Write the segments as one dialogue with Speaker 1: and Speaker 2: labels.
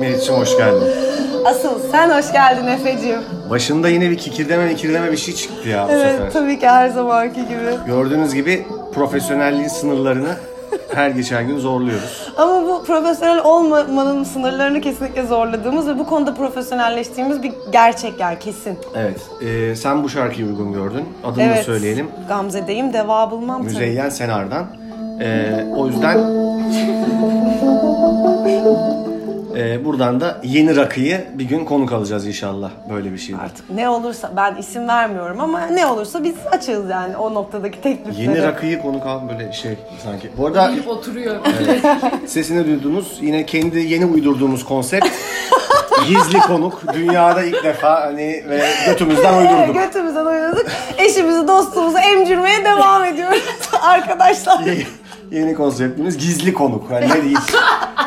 Speaker 1: Melih'cim hoş geldin.
Speaker 2: Asıl sen hoş geldin Efe'ciğim.
Speaker 1: Başında yine bir kikirdeme kikirdeme bir şey çıktı ya bu sefer.
Speaker 2: Evet tabii ki her zamanki gibi.
Speaker 1: Gördüğünüz gibi profesyonelliğin sınırlarını her geçen gün zorluyoruz.
Speaker 2: Ama bu profesyonel olmamanın sınırlarını kesinlikle zorladığımız ve bu konuda profesyonelleştiğimiz bir gerçek yani kesin.
Speaker 1: Evet. Ee, sen bu şarkıyı uygun gördün. Adını da
Speaker 2: Evet.
Speaker 1: söyleyelim.
Speaker 2: Gamze'deyim deva bulmam tabii.
Speaker 1: Müzeyyen Senar'dan. Ee, o yüzden Ee, buradan da yeni rakıyı bir gün konuk alacağız inşallah böyle bir şey. şeyde.
Speaker 2: Artık ne olursa ben isim vermiyorum ama ne olursa biz açığız yani o noktadaki teklifleri.
Speaker 1: Yeni rakıyı konuk al böyle şey sanki. Bu arada
Speaker 3: Gelip oturuyor.
Speaker 1: Sesini duydunuz. Yine kendi yeni uydurduğumuz konsept. Gizli konuk. Dünyada ilk defa hani ve götümüzden
Speaker 2: Evet,
Speaker 1: uydurduk.
Speaker 2: götümüzden oynadık. Eşimizi, dostumuzu emcirmeye devam ediyoruz arkadaşlar.
Speaker 1: Ye- yeni konseptimiz gizli konuk. Yani ne diyeyim?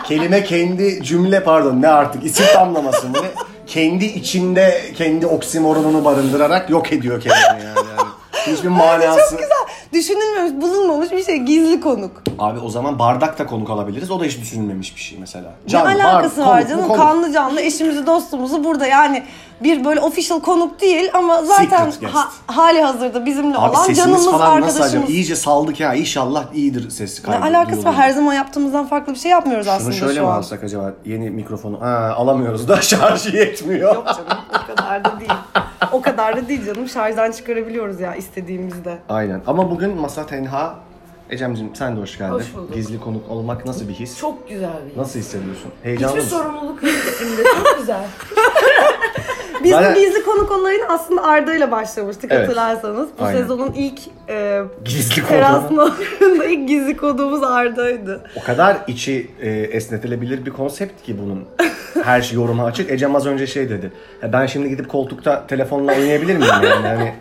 Speaker 1: Kelime kendi cümle pardon ne artık isim tamlaması mı? ne? Kendi içinde kendi oksimoronunu barındırarak yok ediyor kendini yani. yani hiçbir manası.
Speaker 2: Çok güzel. Düşünülmemiş, bulunmamış bir şey. Gizli konuk.
Speaker 1: Abi o zaman bardak da konuk alabiliriz. O da hiç düşünülmemiş bir şey mesela.
Speaker 2: ne
Speaker 1: bar-
Speaker 2: alakası
Speaker 1: konuk
Speaker 2: var
Speaker 1: mu
Speaker 2: canım?
Speaker 1: konuk?
Speaker 2: Kanlı canlı eşimizi dostumuzu burada yani bir böyle official konuk değil ama zaten
Speaker 1: Secret guest.
Speaker 2: ha- hali hazırda bizimle
Speaker 1: Abi
Speaker 2: olan
Speaker 1: sesimiz
Speaker 2: canımız
Speaker 1: falan nasıl acaba?
Speaker 2: arkadaşımız.
Speaker 1: İyice saldık ya. İnşallah iyidir ses
Speaker 2: ne
Speaker 1: kaydı.
Speaker 2: alakası var?
Speaker 1: duyuluyor.
Speaker 2: Her zaman yaptığımızdan farklı bir şey yapmıyoruz
Speaker 1: Şunu
Speaker 2: aslında
Speaker 1: şöyle
Speaker 2: şu
Speaker 1: mi
Speaker 2: an.
Speaker 1: alsak acaba? Yeni mikrofonu. Ha, alamıyoruz da şarjı yetmiyor.
Speaker 2: Yok canım o kadar da değil. O kadar da değil canım. Şarjdan çıkarabiliyoruz ya istediğimizde.
Speaker 1: Aynen. Ama bugün masa tenha. Ecem'cim sen de hoş geldin.
Speaker 3: Hoş bulduk.
Speaker 1: Gizli konuk olmak nasıl bir his?
Speaker 3: Çok güzel bir.
Speaker 1: Nasıl hissediyorsun? Heyecanlı
Speaker 3: Hiçbir
Speaker 1: mısın?
Speaker 3: sorumluluk yok üstümde. Çok güzel.
Speaker 2: Biz
Speaker 1: Zaten-
Speaker 2: bu gizli konuk olayını aslında Arda ile başlamıştık
Speaker 1: Evet.
Speaker 2: hatırlarsanız. Bu
Speaker 1: Aynen.
Speaker 2: sezonun ilk e,
Speaker 1: Gizli konuk.
Speaker 2: Erasmus ilk gizli konuğumuz Arda'ydı.
Speaker 1: O kadar içi e, esnetilebilir bir konsept ki bunun. Her şey yoruma açık. Ecem az önce şey dedi. "Ya ben şimdi gidip koltukta telefonla oynayabilir miyim? Yani hani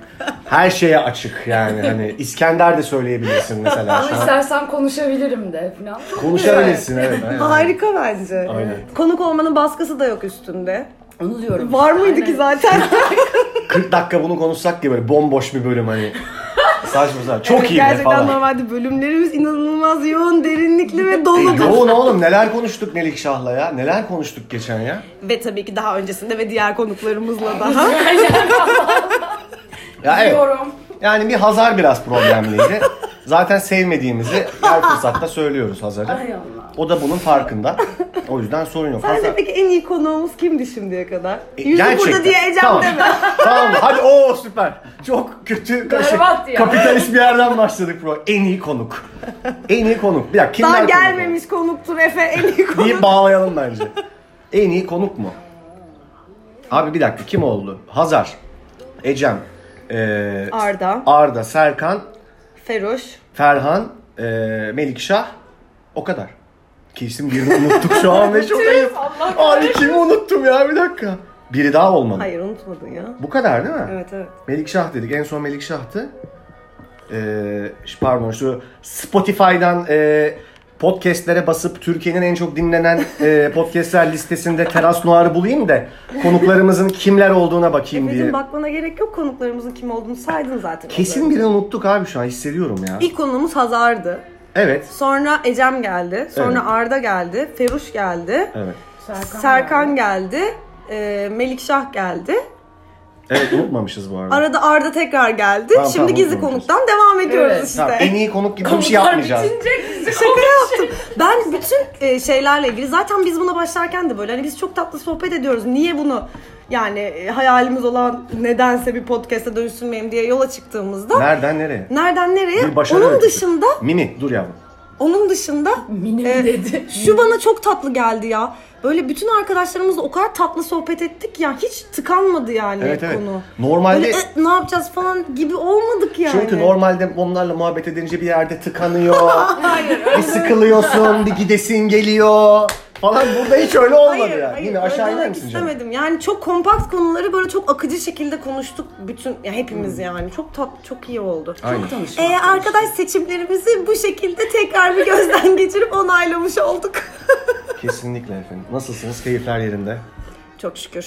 Speaker 1: her şeye açık yani. Hani İskender de söyleyebilirsin mesela.
Speaker 3: Ama
Speaker 1: Şu an
Speaker 3: istersen konuşabilirim de falan.
Speaker 1: Konuşabilirsin evet. aynen.
Speaker 2: Harika bence.
Speaker 1: Aynen.
Speaker 2: Konuk olmanın baskısı da yok üstünde.
Speaker 3: Onu diyorum.
Speaker 2: Var mıydı ki zaten?
Speaker 1: 40 dakika bunu konuşsak ki böyle bomboş bir bölüm hani. Saçma sapan. Çok iyi be
Speaker 2: Gerçekten
Speaker 1: falan.
Speaker 2: normalde bölümlerimiz inanılmaz yoğun, derinlikli ve doludur.
Speaker 1: Yoğun oğlum neler konuştuk Melik Şah'la ya. Neler konuştuk geçen ya.
Speaker 2: ve tabii ki daha öncesinde ve diğer konuklarımızla daha.
Speaker 1: Ya evet.
Speaker 3: Diyorum.
Speaker 1: Yani bir Hazar biraz problemliydi. Zaten sevmediğimizi her fırsatta söylüyoruz
Speaker 3: Ay
Speaker 1: Hazar'ı.
Speaker 3: Allah.
Speaker 1: O da bunun farkında. O yüzden sorun yok.
Speaker 2: Sence
Speaker 1: Hazar.
Speaker 2: peki en iyi konuğumuz kimdi şimdiye kadar?
Speaker 1: E,
Speaker 2: Yüzü burada diye Ecem
Speaker 1: tamam.
Speaker 2: deme.
Speaker 1: tamam hadi o süper. Çok kötü
Speaker 3: Berbat ya.
Speaker 1: kapitalist bir yerden başladık pro. En iyi konuk. En iyi konuk. Bir dakika kimler
Speaker 2: Daha
Speaker 1: konuk oldu?
Speaker 2: gelmemiş konuktur Efe en iyi konuk.
Speaker 1: deyip bağlayalım bence. En iyi konuk mu? Abi bir dakika kim oldu? Hazar, Ecem, ee,
Speaker 2: Arda,
Speaker 1: Arda, Serkan,
Speaker 2: Feroş,
Speaker 1: Ferhan, ee, Melikşah. O kadar. Kesin birini unuttuk şu an ve çok ayıp. Abi kimi unuttum ya bir dakika. Biri daha olmadı.
Speaker 2: Hayır unutmadın ya.
Speaker 1: Bu kadar değil mi?
Speaker 2: Evet evet.
Speaker 1: Melikşah dedik. En son Melikşah'tı. Ee, ş- pardon şu Spotify'dan e, podcastlere basıp Türkiye'nin en çok dinlenen e, podcastler listesinde Teras Noir'ı bulayım da konuklarımızın kimler olduğuna bakayım diye.
Speaker 2: Efe'cim bakmana gerek yok konuklarımızın kim olduğunu saydın zaten.
Speaker 1: Kesin birini unuttuk abi şu an hissediyorum ya.
Speaker 2: İlk konuğumuz Hazar'dı.
Speaker 1: Evet.
Speaker 2: Sonra Ecem geldi. Sonra
Speaker 1: Evet.
Speaker 2: Arda geldi. Feruş geldi.
Speaker 1: Evet.
Speaker 3: Serkan.
Speaker 2: Serkan geldi. E, Melikşah geldi.
Speaker 1: Evet unutmamışız bu arada.
Speaker 2: Arada Arda tekrar geldi.
Speaker 1: Tamam,
Speaker 2: Şimdi
Speaker 1: tamam,
Speaker 2: gizli
Speaker 1: unutmayacağız.
Speaker 2: konuktan devam ediyoruz
Speaker 3: Evet.
Speaker 2: işte.
Speaker 1: Tamam, en iyi konuk gibi bir şey yapmayacağız.
Speaker 3: Bitince bizi
Speaker 2: Şaka yaptım. Ben bütün e, şeylerle ilgili zaten biz buna başlarken de böyle hani biz çok tatlı sohbet ediyoruz. Niye bunu yani e, hayalimiz olan nedense bir podcast'e dönüştürmeyeyim diye yola çıktığımızda
Speaker 1: Nereden nereye?
Speaker 2: nereden nereye?
Speaker 1: Bir başarı
Speaker 2: Onun
Speaker 1: öyküsü.
Speaker 2: dışında
Speaker 1: Mini dur yavrum.
Speaker 2: onun dışında
Speaker 3: Minim
Speaker 2: Ee,
Speaker 3: dedi.
Speaker 2: Şu bana çok tatlı geldi ya. Böyle bütün arkadaşlarımızla o kadar tatlı sohbet ettik ya. Hiç tıkanmadı yani
Speaker 1: Evet evet.
Speaker 2: konu.
Speaker 1: Normalde
Speaker 2: Böyle "E, ne yapacağız falan gibi olmadık yani.
Speaker 1: Çünkü normalde onlarla muhabbet edince bir yerde tıkanıyor. bir sıkılıyorsun, bir gidesin geliyor falan. Burada hiç öyle olmadı
Speaker 2: Hayır,
Speaker 1: yani.
Speaker 2: hayır,
Speaker 1: Yine
Speaker 2: öyle
Speaker 1: aşağı iner
Speaker 2: demek
Speaker 1: misin canım?
Speaker 2: istemedim. Yani çok kompakt konuları böyle çok akıcı şekilde konuştuk bütün ya hepimiz
Speaker 1: Hmm.
Speaker 2: yani. Çok tatlı, çok iyi oldu.
Speaker 1: Aynen.
Speaker 2: Ee, arkadaş seçimlerimizi bu şekilde tekrar bir gözden geçirip onaylamış olduk.
Speaker 1: Kesinlikle efendim. Nasılsınız? Keyifler yerinde.
Speaker 2: çok şükür.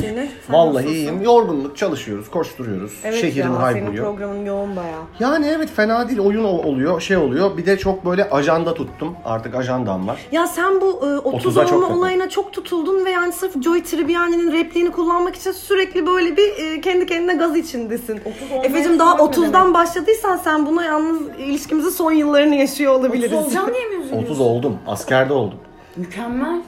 Speaker 2: Seni. Sen
Speaker 1: Vallahi
Speaker 2: nasılsın?
Speaker 1: iyiyim. Yorgunluk, çalışıyoruz, koşturuyoruz.
Speaker 2: Evet
Speaker 1: Şehrim
Speaker 2: ya, senin
Speaker 1: hayboluyor.
Speaker 2: programın yoğun bayağı.
Speaker 1: Yani evet fena değil. Oyun ol- oluyor, şey oluyor. Bir de çok böyle ajanda tuttum. Artık ajandam var.
Speaker 2: Ya sen bu e, 30
Speaker 1: Otuza çok
Speaker 2: olma
Speaker 1: takıldım.
Speaker 2: olayına çok tutuldun ve yani sırf Joy Tribbiani'nin repliğini kullanmak için sürekli böyle bir e, kendi kendine gaz içindesin.
Speaker 3: 30 olmaya
Speaker 2: Efe'cim daha
Speaker 3: tutulmak ne
Speaker 2: 30'dan başladıysan sen buna yalnız ilişkimizin son yıllarını yaşıyor olabiliriz.
Speaker 3: Otuz olacağım diye mi üzülüyorsun?
Speaker 1: 30 oldum. Askerde oldum.
Speaker 3: Mükemmel.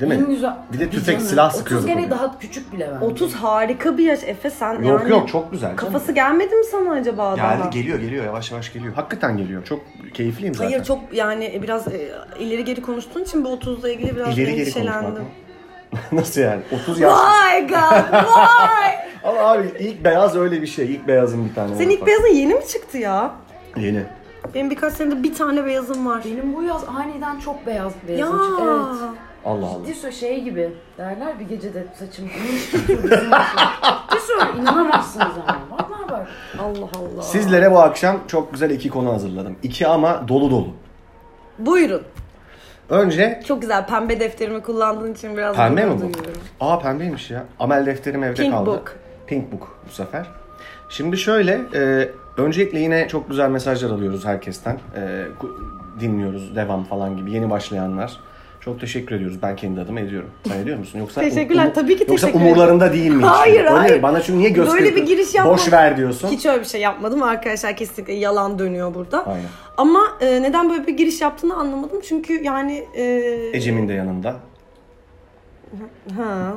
Speaker 1: Değil mi?
Speaker 3: En güzel.
Speaker 1: Bir de
Speaker 3: Tabii
Speaker 1: tüfek,
Speaker 3: canım.
Speaker 1: silah
Speaker 3: 30
Speaker 1: sıkıyorduk o
Speaker 3: gene
Speaker 1: gün.
Speaker 3: daha küçük bile ben.
Speaker 2: 30 harika bir yaş Efe sen
Speaker 1: Yok
Speaker 2: yani
Speaker 1: yok çok güzel. canım.
Speaker 2: kafası gelmedi mi sana acaba adama?
Speaker 1: Geldi geliyor geliyor yavaş yavaş geliyor. Hakikaten geliyor. Çok keyifliyim zaten.
Speaker 2: Hayır çok yani biraz e, ileri geri konuştuğun için bu 30'la ilgili biraz
Speaker 1: ileri geri konuşmak.
Speaker 2: endişelendim.
Speaker 1: Nasıl yani? 30 yaş.
Speaker 2: Vay god vay!
Speaker 1: Ama abi ilk beyaz öyle bir şey. İlk beyazın bir tane.
Speaker 2: Senin
Speaker 1: var.
Speaker 2: ilk beyazın yeni mi çıktı ya?
Speaker 1: Yeni.
Speaker 2: Benim birkaç senede bir tane beyazım var.
Speaker 3: Benim bu yaz aniden çok beyaz
Speaker 2: Ya.
Speaker 3: beyazım. çıktı. Evet.
Speaker 1: Allah Allah.
Speaker 3: Diso şey gibi derler bir gecede saçım kırılmış. Diso inanamazsınız ama. Vallahi bak.
Speaker 2: Allah Allah.
Speaker 1: Sizlere bu akşam çok güzel iki konu hazırladım. İki ama dolu dolu.
Speaker 2: Buyurun.
Speaker 1: Önce
Speaker 2: Çok güzel pembe defterimi kullandığın için biraz
Speaker 1: pembe
Speaker 2: gurur
Speaker 1: mi bu?
Speaker 2: duyuyorum.
Speaker 1: Aa pembeymiş ya. Amel defterim evde
Speaker 2: Pink
Speaker 1: kaldı.
Speaker 2: book.
Speaker 1: Pink book bu sefer. Şimdi şöyle, e, öncelikle yine çok güzel mesajlar alıyoruz herkesten. E, ku- dinliyoruz, devam falan gibi yeni başlayanlar. Çok teşekkür ediyoruz. Ben kendi adıma ediyorum. Sen ediyor musun? Yoksa um,
Speaker 2: Teşekkürler, tabii ki
Speaker 1: Yoksa
Speaker 2: teşekkür ederim.
Speaker 1: umurlarında değil mi? hiç?
Speaker 2: Hayır,
Speaker 1: Öyle mi?
Speaker 2: hayır.
Speaker 1: Bana çünkü niye gösteriyorsun?
Speaker 2: Böyle bir giriş yapma.
Speaker 1: Boş ver diyorsun.
Speaker 2: Hiç öyle bir şey yapmadım arkadaşlar kesinlikle yalan dönüyor burada.
Speaker 1: Aynen.
Speaker 2: Ama e, neden böyle bir giriş yaptığını anlamadım çünkü yani e,
Speaker 1: Ecem'in de yanında.
Speaker 2: ha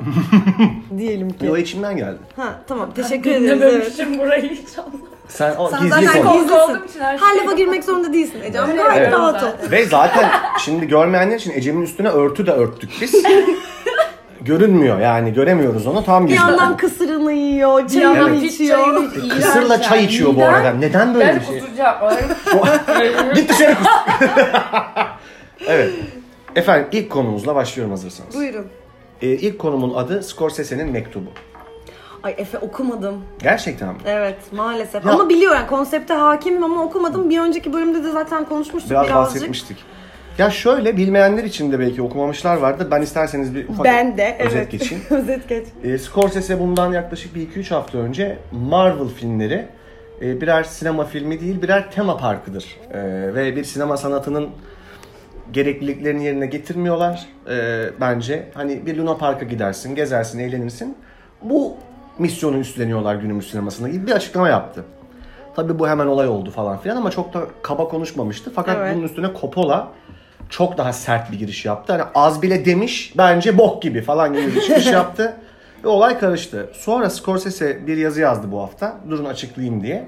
Speaker 2: diyelim ki.
Speaker 1: O içimden geldi.
Speaker 2: Ha tamam teşekkür ederiz. Evet.
Speaker 3: burayı hiç anlamadım.
Speaker 1: Sen o
Speaker 2: Sen
Speaker 1: gizli
Speaker 2: zaten
Speaker 1: konu.
Speaker 3: Korku
Speaker 2: gizlisin.
Speaker 3: olduğum için her
Speaker 2: Her
Speaker 3: şey-
Speaker 2: lafa girmek zorunda değilsin Ecem. Gayet
Speaker 1: Evet.
Speaker 2: rahat ol.
Speaker 1: Ve zaten şimdi görmeyenler için Ecem'in üstüne örtü de örttük biz. Görünmüyor yani göremiyoruz onu tam
Speaker 2: Bir
Speaker 1: gizli.
Speaker 2: yandan kısırını yiyor,
Speaker 3: Bir
Speaker 2: çayını
Speaker 3: yandan hiç
Speaker 2: içiyor.
Speaker 3: çayını iğrenç
Speaker 1: Kısırla
Speaker 3: yani.
Speaker 1: çay içiyor bu
Speaker 3: Neden?
Speaker 1: arada. Neden böyle
Speaker 3: Ben
Speaker 1: bir şey?
Speaker 3: kusuracağım.
Speaker 1: Git dışarı kus. evet. Efendim ilk konumuzla başlıyorum hazırsanız.
Speaker 2: Buyurun.
Speaker 1: Ee, ilk konumun adı Scorsese'nin mektubu.
Speaker 2: Ay Efe okumadım.
Speaker 1: Gerçekten mi?
Speaker 2: Evet maalesef.
Speaker 1: Ya-
Speaker 2: Ama biliyorum yani konsepte hakimim ama okumadım. Bir önceki bölümde de zaten konuşmuştuk
Speaker 1: Biraz
Speaker 2: birazcık.
Speaker 1: bahsetmiştik. Ya şöyle bilmeyenler için de belki okumamışlar vardı. Ben isterseniz bir ufak
Speaker 2: Ben de evet.
Speaker 1: özet geçeyim.
Speaker 2: özet geç.
Speaker 1: E, Scorsese bundan yaklaşık bir 2-3 hafta önce Marvel filmleri e, birer sinema filmi değil birer tema parkıdır. E, ve bir sinema sanatının gerekliliklerini yerine getirmiyorlar e, bence. Hani bir Luna Park'a gidersin, gezersin, eğlenirsin. Bu misyonu üstleniyorlar günümüz sinemasında gibi bir açıklama yaptı. Tabii bu hemen olay oldu falan filan ama çok da kaba konuşmamıştı. Fakat
Speaker 2: Evet.
Speaker 1: bunun üstüne Coppola çok daha sert bir giriş yaptı. Hani az bile demiş bence bok gibi falan gibi bir çıkış yaptı. Ve olay karıştı. Sonra Scorsese bir yazı yazdı bu hafta. Durun açıklayayım diye.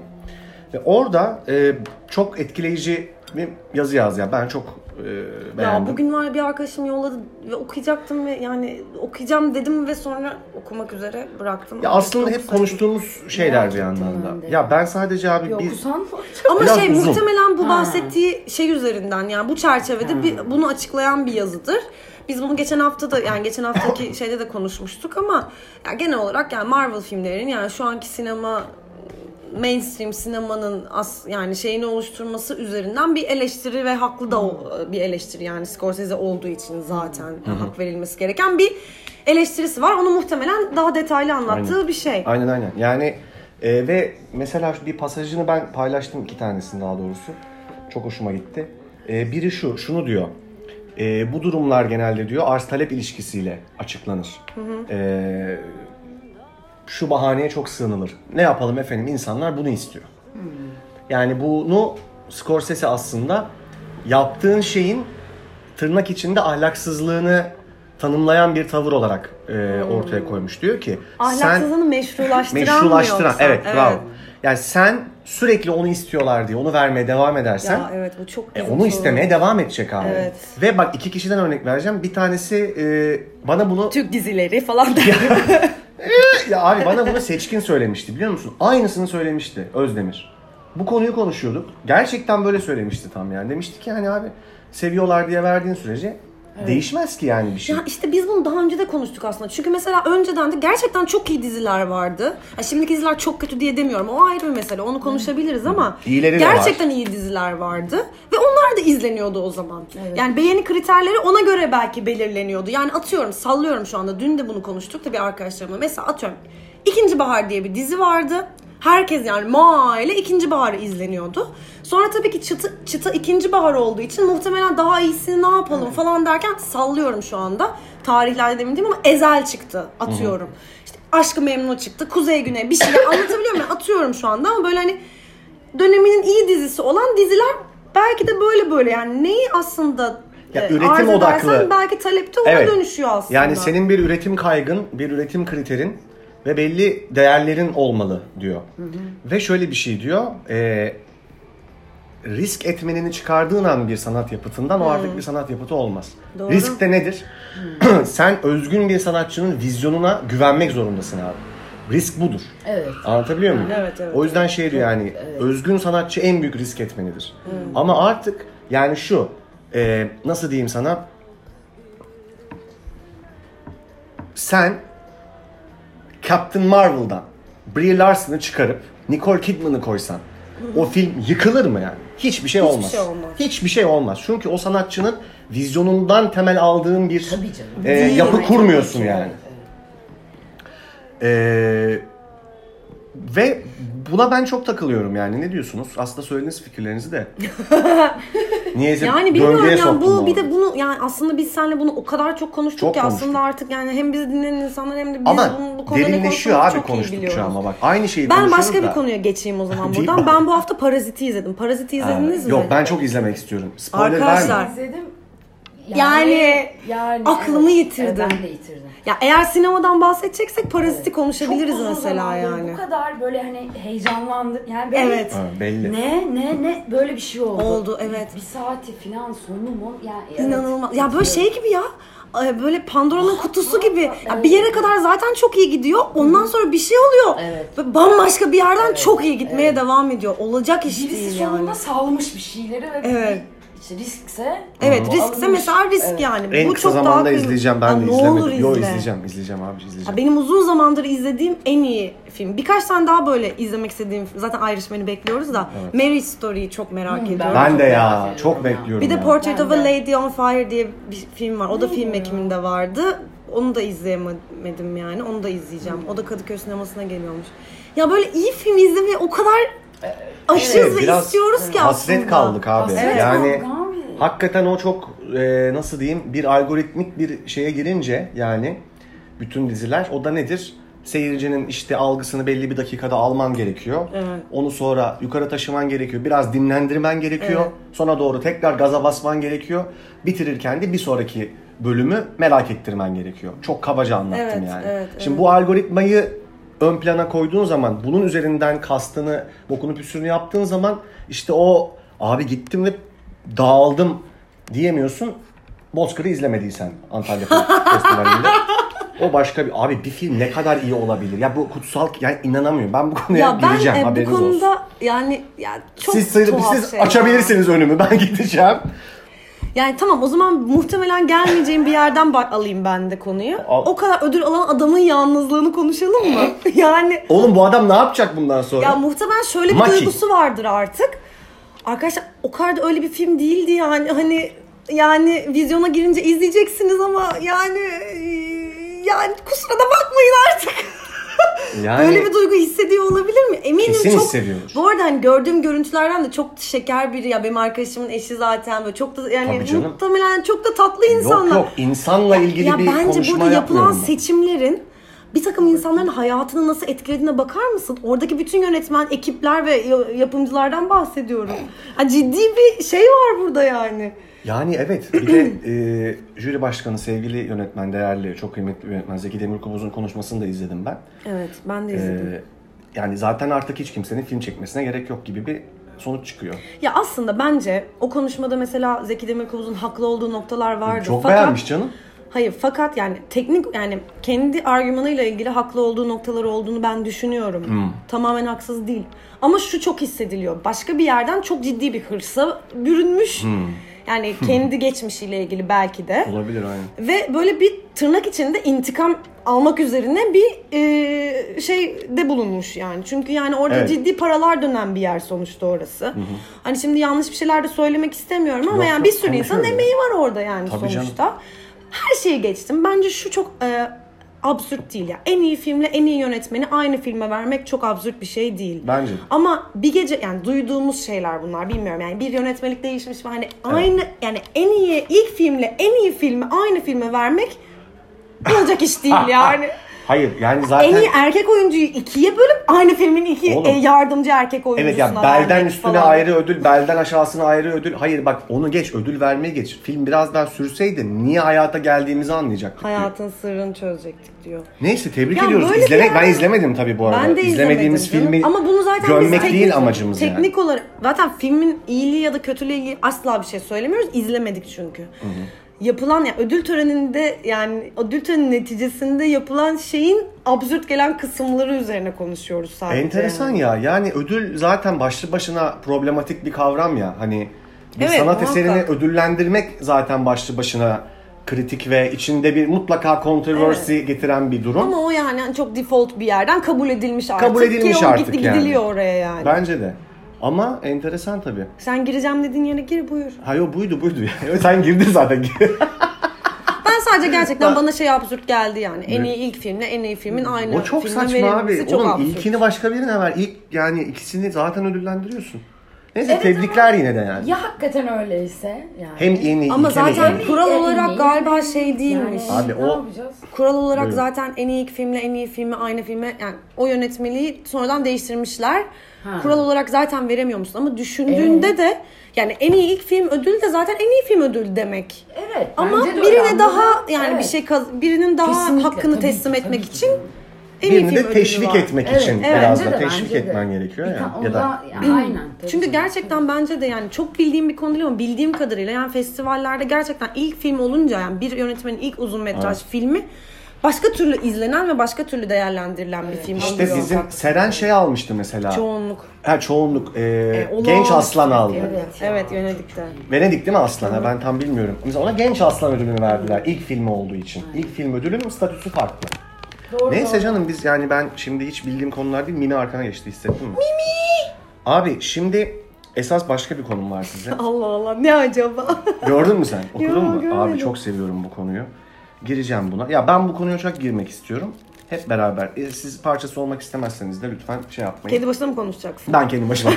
Speaker 1: Ve orada e, çok etkileyici bir yazı yazdı. Yani ben çok e, beğendim.
Speaker 2: Ya bugün var bir arkadaşım yolladı ve okuyacaktım ve yani okuyacağım dedim ve sonra okumak üzere bıraktım.
Speaker 1: Ya aslında
Speaker 2: Çok
Speaker 1: hep
Speaker 2: saçma.
Speaker 1: konuştuğumuz şeyler bir
Speaker 3: Gerçekten
Speaker 1: yandan da.
Speaker 3: ben de.
Speaker 1: Ya ben sadece abi
Speaker 3: Yok
Speaker 1: bir...
Speaker 3: kusan mı?
Speaker 2: Ama
Speaker 1: Biraz
Speaker 2: şey
Speaker 1: uzun.
Speaker 2: muhtemelen bu
Speaker 3: Ha.
Speaker 2: bahsettiği şey üzerinden yani bu çerçevede
Speaker 3: Ha.
Speaker 2: bir, bunu açıklayan bir yazıdır. Biz bunu geçen hafta da yani geçen haftaki şeyde de konuşmuştuk ama ya genel olarak yani Marvel filmlerinin yani şu anki sinema mainstream sinemanın as yani şeyini oluşturması üzerinden bir eleştiri ve haklı da o- e, bir eleştiri yani Scorsese olduğu için zaten hak verilmesi gereken bir eleştirisi var. Onu muhtemelen daha detaylı anlattığı
Speaker 1: Aynen.
Speaker 2: bir şey.
Speaker 1: Aynen aynen. Yani e, ve mesela şu bir pasajını ben paylaştım iki tanesini daha doğrusu. Çok hoşuma gitti. E, biri şu, şunu diyor. E, bu durumlar genelde diyor arz talep ilişkisiyle açıklanır. E, şu bahaneye çok sığınılır. Ne yapalım efendim insanlar bunu istiyor. Yani bunu Scorsese aslında yaptığın şeyin tırnak içinde ahlaksızlığını tanımlayan bir tavır olarak e,
Speaker 2: Hmm.
Speaker 1: ortaya koymuş. Diyor ki sen
Speaker 2: Ahlaksızlığını meşrulaştıran mı
Speaker 1: meşrulaştıran
Speaker 2: yoksa?
Speaker 1: evet, bravo. Yani sen sürekli onu istiyorlar diye onu vermeye devam edersen
Speaker 2: Ya evet bu çok
Speaker 1: e,
Speaker 2: bizim
Speaker 1: onu
Speaker 2: sorun.
Speaker 1: istemeye devam edecek abi.
Speaker 2: Evet.
Speaker 1: Ve bak iki kişiden örnek vereceğim. Bir tanesi e, bana bunu
Speaker 2: Türk dizileri falan da.
Speaker 1: ya abi bana bunu seçkin söylemişti biliyor musun? Aynısını söylemişti Özdemir. Bu konuyu konuşuyorduk. Gerçekten böyle söylemişti tam yani. Demişti ki hani abi seviyorlar diye verdiğin sürece Değişmez ki yani bir şey.
Speaker 2: Ya işte biz bunu daha önce de konuştuk aslında. Çünkü mesela önceden de gerçekten çok iyi diziler vardı. Ya şimdiki diziler çok kötü diye demiyorum. O ayrı bir mesele. Onu konuşabiliriz ama
Speaker 1: İyileri de
Speaker 2: gerçekten iyi diziler vardı ve onlar da izleniyordu o zaman. Yani beğeni kriterleri ona göre belki belirleniyordu. Yani atıyorum sallıyorum şu anda. Dün de bunu konuştuk da bir arkadaşlarımla. Mesela atıyorum İkinci Bahar diye bir dizi vardı. Herkes yani ma ile ikinci baharı izleniyordu. Sonra tabii ki çıtı, çıta ikinci bahar olduğu için muhtemelen daha iyisini ne yapalım falan derken sallıyorum şu anda. Tarihlerde de emin değilim ama Ezel çıktı atıyorum. İşte Aşkı Memnu çıktı. Kuzey Güney bir şeyler anlatabiliyor muyum? Atıyorum şu anda ama böyle hani döneminin iyi dizisi olan diziler belki de böyle böyle yani neyi aslında
Speaker 1: Ya
Speaker 2: e,
Speaker 1: üretim
Speaker 2: arz edersen
Speaker 1: odaklı.
Speaker 2: belki talepte ona
Speaker 1: Evet.
Speaker 2: dönüşüyor aslında.
Speaker 1: Yani senin bir üretim kaygın, bir üretim kriterin ve belli değerlerin olmalı diyor. Ve şöyle bir şey diyor. e, risk etmenini çıkardığın an bir sanat yapıtından o artık bir sanat yapıtı olmaz.
Speaker 2: Doğru.
Speaker 1: Risk de nedir? Sen özgün bir sanatçının vizyonuna güvenmek zorundasın abi. Risk budur.
Speaker 3: Evet.
Speaker 1: Anlatabiliyor muyum?
Speaker 2: Evet, evet,
Speaker 1: O yüzden şey diyor yani özgün sanatçı en büyük risk etmenidir. Ama artık yani şu e, nasıl diyeyim sana sen Captain Marvel'dan Brie Larson'ı çıkarıp Nicole Kidman'ı koysan o film yıkılır mı yani? Hiçbir şey olmaz.
Speaker 2: şey olmaz.
Speaker 1: Hiçbir şey olmaz. Çünkü o sanatçının vizyonundan temel aldığın bir
Speaker 3: Tabii canım.
Speaker 1: e, yapı kurmuyorsun yani. Ee, ve buna ben çok takılıyorum yani. Ne diyorsunuz? Aslında söylediğiniz fikirlerinizi de. Niyeyse
Speaker 2: Yani bilmiyorum
Speaker 1: döngüye
Speaker 2: yani
Speaker 1: soktum.
Speaker 2: bu
Speaker 1: bu
Speaker 2: bir de bunu yani aslında biz seninle bunu o kadar çok konuştuk
Speaker 1: Çok
Speaker 2: ki
Speaker 1: konuştuk.
Speaker 2: aslında artık yani hem bizi dinleyen insanlar hem de biz
Speaker 1: Ama
Speaker 2: bunu bu konuda ne
Speaker 1: derinleşiyor
Speaker 2: konuştuğumuzu
Speaker 1: abi
Speaker 2: çok iyi
Speaker 1: konuştukça
Speaker 2: biliyoruz.
Speaker 1: ama bak. Aynı şeyi
Speaker 2: Ben
Speaker 1: konuşuyoruz
Speaker 2: başka
Speaker 1: da.
Speaker 2: bir konuya geçeyim o zaman
Speaker 1: Değil
Speaker 2: buradan.
Speaker 1: mi?
Speaker 2: Ben bu hafta Parazit'i izledim. Parazit'i izlediniz mi?
Speaker 1: Yok ben çok izlemek istiyorum. Spoiler
Speaker 2: Arkadaşlar,
Speaker 1: verme.
Speaker 3: İzledim.
Speaker 2: Yani, aklımı yitirdim.
Speaker 3: Ben de yitirdim.
Speaker 2: Ya eğer sinemadan bahsedeceksek Parazit'i
Speaker 3: Çok
Speaker 2: konuşabiliriz
Speaker 3: uzun
Speaker 2: mesela
Speaker 3: zamandır
Speaker 2: yani.
Speaker 3: Bu kadar böyle hani heyecanlandım. Yani böyle
Speaker 2: Evet.
Speaker 1: Ha, belli.
Speaker 3: Ne ne ne böyle bir şey oldu.
Speaker 2: Oldu, evet.
Speaker 3: Bir saati falan sonu mu? Yani evet. Ah,
Speaker 2: İnanılmaz. Ya böyle şey gibi ya. Ay, Böyle Pandora'nın kutusu gibi. Ya
Speaker 3: evet.
Speaker 2: bir yere kadar zaten çok iyi gidiyor. Ondan sonra bir şey oluyor.
Speaker 3: Evet.
Speaker 2: Ve bambaşka bir yerden çok iyi gitmeye devam ediyor. Olacak iş
Speaker 3: Birisi
Speaker 2: değil
Speaker 3: sonunda
Speaker 2: yani.
Speaker 3: salmış bir şeyleri ve
Speaker 2: Evet.
Speaker 3: bir- işte riskse
Speaker 2: Evet
Speaker 3: bu
Speaker 2: riskse
Speaker 3: alınmış.
Speaker 2: mesela risk yani.
Speaker 1: En
Speaker 2: Bu
Speaker 1: kısa
Speaker 2: çok daha
Speaker 1: zamanda
Speaker 2: kıymetli.
Speaker 1: izleyeceğim. Ben
Speaker 2: Ya
Speaker 1: de
Speaker 2: ne
Speaker 1: izlemedim.
Speaker 2: olur
Speaker 1: Yo
Speaker 2: izle.
Speaker 1: izleyeceğim. izleyeceğim abi izleyeceğim.
Speaker 2: Ya benim uzun zamandır izlediğim en iyi film. Birkaç tane daha böyle izlemek istediğim zaten Irishman'ı bekliyoruz da. Marriage Story'yi çok merak
Speaker 3: Hmm, ben-
Speaker 2: ediyorum.
Speaker 1: Ben de ya.
Speaker 3: Çok
Speaker 1: Çok
Speaker 3: merak
Speaker 1: bekliyorum
Speaker 2: Bir de
Speaker 1: ya.
Speaker 2: Portrait of a
Speaker 3: Ben de. Hmm.
Speaker 2: Lady on Fire diye bir film var. O da film ekiminde vardı. Onu da izleyemedim yani. Onu da izleyeceğim. O da Kadıköy sinemasına geliyormuş. Ya böyle iyi film izlemeye o kadar
Speaker 3: Ee,
Speaker 2: aşırız
Speaker 1: Evet,
Speaker 2: ve
Speaker 1: biraz
Speaker 2: istiyoruz ki aslında.
Speaker 1: Hasret kaldık abi.
Speaker 3: Hasret
Speaker 1: yani
Speaker 3: kaldık abi.
Speaker 1: hakikaten o çok e, nasıl diyeyim bir algoritmik bir şeye girince yani bütün diziler o da nedir? Seyircinin işte algısını belli bir dakikada alman gerekiyor.
Speaker 2: Evet.
Speaker 1: Onu sonra yukarı taşıman gerekiyor. Biraz dinlendirmen gerekiyor. Sonra doğru tekrar gaza basman gerekiyor. Bitirirken de bir sonraki bölümü merak ettirmen gerekiyor. Çok kabaca anlattım
Speaker 2: Evet,
Speaker 1: yani.
Speaker 2: evet,
Speaker 1: Şimdi bu algoritmayı ön plana koyduğun zaman bunun üzerinden kastını bokunu püsürünü yaptığın zaman işte o abi gittim ve dağıldım diyemiyorsun. Bozkır'ı izlemediysen Antalya Festivali'nde. O başka bir abi bir film ne kadar iyi olabilir. Ya bu kutsal yani inanamıyorum. Ben bu konuya
Speaker 2: Ya ben
Speaker 1: gireceğim
Speaker 2: e, bu
Speaker 1: haberiniz olsun.
Speaker 2: konuda yani ya çok
Speaker 1: siz sayın-
Speaker 2: tuhaf
Speaker 1: siz
Speaker 2: şeyler.
Speaker 1: açabilirsiniz önümü. Ben gideceğim.
Speaker 2: Yani tamam o zaman muhtemelen gelmeyeceğim bir yerden bak alayım ben de konuyu.
Speaker 1: Al.
Speaker 2: O kadar ödül alan adamın yalnızlığını konuşalım mı? yani
Speaker 1: Oğlum bu adam ne yapacak bundan sonra?
Speaker 2: Ya muhtemelen şöyle bir
Speaker 1: Maki.
Speaker 2: duygusu vardır artık. Arkadaşlar o kadar da öyle bir film değildi yani hani yani vizyona girince izleyeceksiniz ama yani yani kusura da bakmayın artık.
Speaker 1: Yani-
Speaker 2: Öyle bir duygu hissediyor olabilir mi? Eminim
Speaker 1: Kesin
Speaker 2: çok.
Speaker 1: hissediyordur.
Speaker 2: Bu arada hani gördüğüm görüntülerden de çok şeker biri ya benim arkadaşımın eşi zaten böyle çok da yani
Speaker 1: Tabii canım.
Speaker 2: muhtemelen çok da tatlı
Speaker 1: yok
Speaker 2: insanlar.
Speaker 1: yok insanla ilgili
Speaker 2: Ya
Speaker 1: bir
Speaker 2: bence
Speaker 1: konuşma
Speaker 2: burada yapılan
Speaker 1: yapmıyorum ben.
Speaker 2: seçimlerin bir takım insanların hayatını nasıl etkilediğine bakar mısın? Oradaki bütün yönetmen, ekipler ve ya- yapımcılardan bahsediyorum. Ha, ciddi bir şey var burada yani.
Speaker 1: Yani evet bir de e, jüri başkanı sevgili yönetmen değerli çok kıymetli bir yönetmen Zeki Demirkubuz'un konuşmasını da izledim ben.
Speaker 2: Evet, ben de
Speaker 1: E,
Speaker 2: izledim.
Speaker 1: yani zaten artık hiç kimsenin film çekmesine gerek yok gibi bir sonuç çıkıyor.
Speaker 2: Ya aslında bence o konuşmada mesela Zeki Demirkubuz'un haklı olduğu noktalar vardı.
Speaker 1: Çok
Speaker 2: Fakat-
Speaker 1: beğenmiş canım.
Speaker 2: Hayır fakat yani teknik yani kendi argümanıyla ilgili haklı olduğu noktalar olduğunu ben düşünüyorum.
Speaker 1: Hmm.
Speaker 2: Tamamen haksız değil. Ama şu çok hissediliyor. Başka bir yerden çok ciddi bir hırsa bürünmüş. Yani kendi geçmişiyle ilgili belki de.
Speaker 1: Hmm. Olabilir aynen.
Speaker 2: Ve böyle bir tırnak içinde intikam almak üzerine bir e, şey de bulunmuş yani. Çünkü yani orada
Speaker 1: Evet.
Speaker 2: ciddi paralar dönen bir yer sonuçta orası. Hani şimdi yanlış bir şeyler de söylemek istemiyorum ama
Speaker 1: Yok,
Speaker 2: yani
Speaker 1: yok,
Speaker 2: bir sürü
Speaker 1: konuşuyoruz
Speaker 2: insanın
Speaker 1: ya.
Speaker 2: emeği var orada yani
Speaker 1: Tabii canım.
Speaker 2: sonuçta. Her şeyi geçtim. Bence şu çok e, absürt değil ya. En iyi filmle en iyi yönetmeni aynı filme vermek çok absürt bir şey değil.
Speaker 1: Bence.
Speaker 2: Ama bir gece yani duyduğumuz şeyler bunlar bilmiyorum yani bir yönetmelik değişmiş ve hani aynı yani en iyi ilk filmle en iyi filmi aynı filme vermek olacak iş değil yani.
Speaker 1: Hayır yani zaten
Speaker 2: en iyi erkek oyuncuyu ikiye bölüp aynı filmin iki
Speaker 1: Oğlum.
Speaker 2: e, yardımcı erkek oyuncusuna
Speaker 1: Evet ya belden
Speaker 2: vermek
Speaker 1: üstüne
Speaker 2: falan.
Speaker 1: ayrı ödül, belden aşağısına ayrı ödül. Hayır bak onu geç, ödül vermeye geç. Film biraz daha sürseydi niye hayata geldiğimizi anlayacaktık.
Speaker 2: Hayatın sırrını çözecektik diyor.
Speaker 1: Neyse tebrik
Speaker 2: Ya
Speaker 1: ediyoruz.
Speaker 2: böyle bir
Speaker 1: İzlemek
Speaker 2: yer-
Speaker 1: ben izlemedim tabii bu arada.
Speaker 2: Ben de
Speaker 1: İzlemediğimiz
Speaker 2: izlemedim
Speaker 1: filmi
Speaker 2: canım. Ama bunu zaten
Speaker 1: gömmek
Speaker 2: biz
Speaker 1: değil
Speaker 2: teknik-
Speaker 1: amacımız yani.
Speaker 2: Teknik olarak zaten filmin iyiliği ya da kötülüğü ilgili asla bir şey söylemiyoruz. İzlemedik çünkü. Yapılan ya ödül töreninde yani ödül töreni neticesinde yapılan şeyin absürt gelen kısımları üzerine konuşuyoruz sadece.
Speaker 1: Enteresan
Speaker 2: yani.
Speaker 1: ya. Yani ödül zaten başlı başına problematik bir kavram ya. Hani bir
Speaker 2: Evet,
Speaker 1: sanat
Speaker 2: muhakkak.
Speaker 1: eserini ödüllendirmek zaten başlı başına kritik ve içinde bir mutlaka controversy getiren bir durum.
Speaker 2: Ama o yani hani çok default bir yerden kabul edilmiş artık.
Speaker 1: Kabul edilmiş
Speaker 2: ki o
Speaker 1: artık
Speaker 2: gitti-
Speaker 1: yani.
Speaker 2: Gidiliyor oraya yani.
Speaker 1: Bence de. Ama enteresan tabii.
Speaker 2: Sen gireceğim dediğin yere gir buyur.
Speaker 1: Ha yo buydu buydu. Sen girdin zaten.
Speaker 2: Ben sadece gerçekten bana şey absürt geldi yani. En iyi ilk filmle en iyi filmin aynı
Speaker 1: o çok
Speaker 2: filmin
Speaker 1: saçma
Speaker 2: verilmesi
Speaker 1: abi.
Speaker 2: çok
Speaker 1: Oğlum
Speaker 2: absürt.
Speaker 1: ilkini başka birine ver. İlk yani ikisini zaten ödüllendiriyorsun. Neyse
Speaker 3: Evet
Speaker 1: tebrikler
Speaker 3: ama-
Speaker 1: yine de yani.
Speaker 3: Ya hakikaten öyleyse yani.
Speaker 1: Hem yeni
Speaker 2: Ama
Speaker 1: ilke de
Speaker 2: zaten
Speaker 1: yeni.
Speaker 2: kural
Speaker 3: Yani-
Speaker 2: olarak galiba şey değilmiş.
Speaker 3: Yani
Speaker 1: Abi
Speaker 3: ne
Speaker 1: o-
Speaker 3: yapacağız?
Speaker 2: Kural olarak
Speaker 1: Evet.
Speaker 2: zaten en iyi ilk filmle en iyi filmi aynı filme yani o yönetmeliği sonradan değiştirmişler.
Speaker 3: Ha.
Speaker 2: Kural olarak zaten veremiyor musun ama düşündüğünde de yani en iyi ilk film ödülü de zaten en iyi film ödülü demek.
Speaker 3: Evet.
Speaker 2: Ama
Speaker 3: bence de öyle.
Speaker 2: birine daha
Speaker 3: Anladım.
Speaker 2: yani bir
Speaker 3: Evet.
Speaker 2: şey kaz- birinin daha
Speaker 3: Kesinlikle,
Speaker 2: hakkını
Speaker 3: tabii ki,
Speaker 2: teslim
Speaker 3: tabii
Speaker 2: etmek
Speaker 3: ki.
Speaker 2: için en iyi
Speaker 1: Birini
Speaker 2: film
Speaker 1: de
Speaker 2: ödülü
Speaker 1: teşvik
Speaker 2: var.
Speaker 1: etmek
Speaker 3: Evet,
Speaker 1: için
Speaker 3: evet,
Speaker 1: biraz
Speaker 3: bence
Speaker 1: da
Speaker 3: de,
Speaker 1: teşvik
Speaker 3: bence de.
Speaker 1: etmen gerekiyor
Speaker 3: Bir
Speaker 1: ya.
Speaker 3: ta-
Speaker 1: Ya da
Speaker 3: onda- ya, aynen. tabii
Speaker 2: Çünkü
Speaker 3: ki.
Speaker 2: gerçekten bence de yani çok bildiğim bir konu değil ama bildiğim kadarıyla yani festivallerde gerçekten ilk film olunca yani bir yönetmenin ilk uzun metraj filmi başka türlü izlenen ve başka türlü değerlendirilen bir film
Speaker 1: işte
Speaker 2: oluyor.
Speaker 1: bizim Seren şey almıştı mesela.
Speaker 2: çoğunluk.
Speaker 1: Ha çoğunluk e, genç
Speaker 2: olağanüstü
Speaker 1: aslan
Speaker 2: bir
Speaker 1: aldı.
Speaker 2: film. Evet,
Speaker 3: ya.
Speaker 2: evet yönelikte.
Speaker 1: Venedik değil mi Aslan'a? Ben tam bilmiyorum. Mesela ona genç aslan ödülünü verdiler ilk filmi olduğu için. İlk film ödülünün statüsü farklı.
Speaker 3: Doğru,
Speaker 1: Neyse
Speaker 3: doğru.
Speaker 1: canım biz yani ben şimdi hiç bildiğim konular değil. Mini arkana geçti hissettin mi? Mimi! Abi şimdi esas başka bir konum var size.
Speaker 2: Allah Allah ne acaba?
Speaker 1: Gördün mü sen? Okudun
Speaker 2: Yo,
Speaker 1: mu?
Speaker 2: görmedim.
Speaker 1: Abi çok seviyorum bu konuyu. Gireceğim buna. Ya ben bu konuya çok girmek istiyorum. Hep beraber. E, siz parçası olmak istemezseniz de lütfen şey yapmayın.
Speaker 2: Kedi başına mı konuşacaksın?
Speaker 1: Ben kendi başıma.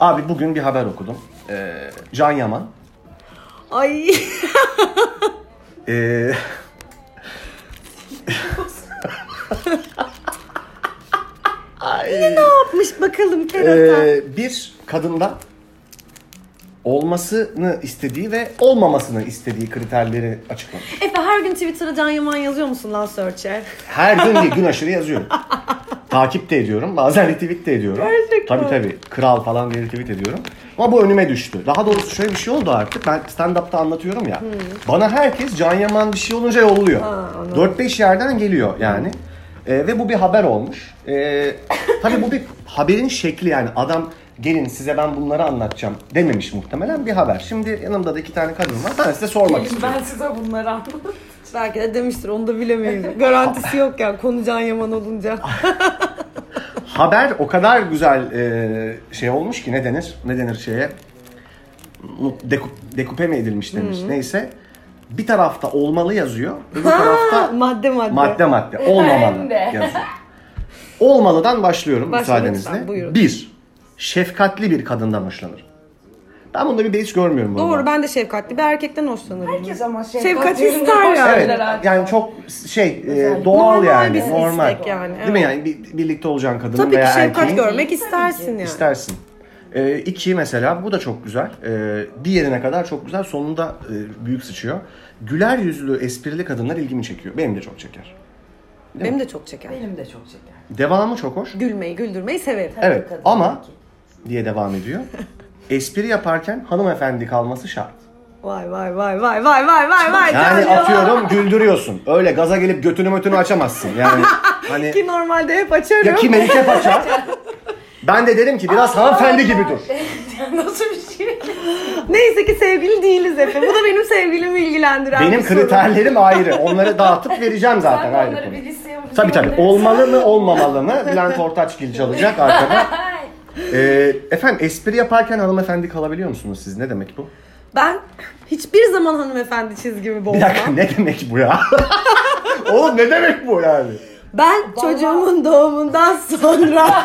Speaker 1: Abi bugün bir haber okudum. Ee, Can Yaman.
Speaker 2: Ay
Speaker 1: Ee,
Speaker 2: ne yapmış bakalım kerata.
Speaker 1: ee, bir kadında olmasını istediği ve olmamasını istediği kriterleri açıklamış.
Speaker 2: Efe her gün Twitter'a Can Yaman yazıyor musun lan search'e?
Speaker 1: Her gün değil, gün aşırı yazıyorum. Takip de ediyorum. Bazen retweet de ediyorum.
Speaker 2: Gerçekten.
Speaker 1: Tabii tabii. Kral falan diye retweet ediyorum. Ama bu önüme düştü. Daha doğrusu şöyle bir şey oldu artık. Ben stand-up'ta anlatıyorum ya. Bana herkes Can Yaman bir şey olunca yolluyor. 4-5 yerden geliyor yani. Ee, ve bu bir haber olmuş. Ee, tabii bu bir haberin şekli yani. Adam gelin size ben bunları anlatacağım dememiş muhtemelen bir haber. Şimdi yanımda da iki tane kadın var. Ben size sormak istiyorum.
Speaker 3: Ben size bunları anladım.
Speaker 2: Belki de demiştir onu da bilemeyiz. Garantisi yok yani konu Can Yaman olunca.
Speaker 1: haber o kadar güzel e, şey olmuş ki ne denir? Ne denir şeye? Mu- Dekup, dekupe mi edilmiş demiş. Neyse. Bir tarafta olmalı yazıyor. Öbür tarafta
Speaker 2: madde madde.
Speaker 1: madde madde olmamalı
Speaker 3: de.
Speaker 1: yazıyor. Olmalıdan başlıyorum
Speaker 2: Başla
Speaker 1: müsaadenizle.
Speaker 2: lütfen, buyurun.
Speaker 1: bir, şefkatli bir kadından hoşlanırım. Ben bunda bir beis görmüyorum. bu arada.
Speaker 2: Doğru ben de şefkatli bir erkekten hoşlanırım.
Speaker 3: Herkes ama şey, şefkat,
Speaker 2: Şefkat
Speaker 3: yerine
Speaker 2: ister
Speaker 3: hoş
Speaker 2: yani.
Speaker 1: Evet.
Speaker 3: şeyler artık.
Speaker 1: Yani çok şey e,
Speaker 3: Özellikle.
Speaker 1: doğal
Speaker 2: Normal
Speaker 1: yani.
Speaker 2: bir
Speaker 1: normal.
Speaker 2: istek yani,
Speaker 1: Değil mi
Speaker 2: evet.
Speaker 1: yani bir- birlikte olacağın kadının
Speaker 2: Tabii ki
Speaker 1: veya
Speaker 2: şefkat
Speaker 1: erkeğin
Speaker 2: görmek istersin yani.
Speaker 1: İstersin. Ee, iki mesela bu da çok güzel. Ee, bir yerine kadar çok güzel. Sonunda e, büyük sıçıyor. Güler yüzlü, esprili kadınlar ilgimi çekiyor. Benim de çok çeker.
Speaker 2: Benim de çok çeker.
Speaker 3: Benim de çok şeker.
Speaker 1: Devamı çok hoş.
Speaker 2: Gülmeyi, güldürmeyi severim.
Speaker 1: Evet
Speaker 3: kadın
Speaker 1: ama
Speaker 3: peki.
Speaker 1: diye devam ediyor. Espri yaparken hanımefendi kalması şart.
Speaker 2: Vay vay vay vay vay vay vay vay.
Speaker 1: Yani
Speaker 2: Can Yaman.
Speaker 1: atıyorum güldürüyorsun. Öyle gaza gelip götünü mötünü açamazsın. Yani hani
Speaker 2: Ki normalde hep açarım.
Speaker 1: ya kim erkek açar? Ben de derim ki biraz hanımefendi gibi dur.
Speaker 3: Nasıl bir şey?
Speaker 2: Neyse ki sevgili değiliz Efe. Bu da benim sevgilimi ilgilendiren
Speaker 1: Benim
Speaker 2: bir sorun.
Speaker 1: kriterlerim ayrı. Onları dağıtıp vereceğim zaten
Speaker 3: Sen
Speaker 1: ayrı
Speaker 3: onları
Speaker 1: konu.
Speaker 3: bir listeye yapıp
Speaker 1: Tabii tabii.
Speaker 3: gönderirsen-
Speaker 1: Olmalı mı olmamalı mı? Bülent Ortaçgil çalacak arkada.
Speaker 3: Ay.
Speaker 1: Ee, efendim espri yaparken hanımefendi kalabiliyor musunuz siz? Ne demek bu?
Speaker 2: Ben hiçbir zaman hanımefendi çizgimi
Speaker 1: Bir
Speaker 2: bozmam.
Speaker 1: dakika ne demek bu ya? Oğlum ne demek bu yani?
Speaker 2: Ben çocuğumun doğumundan sonra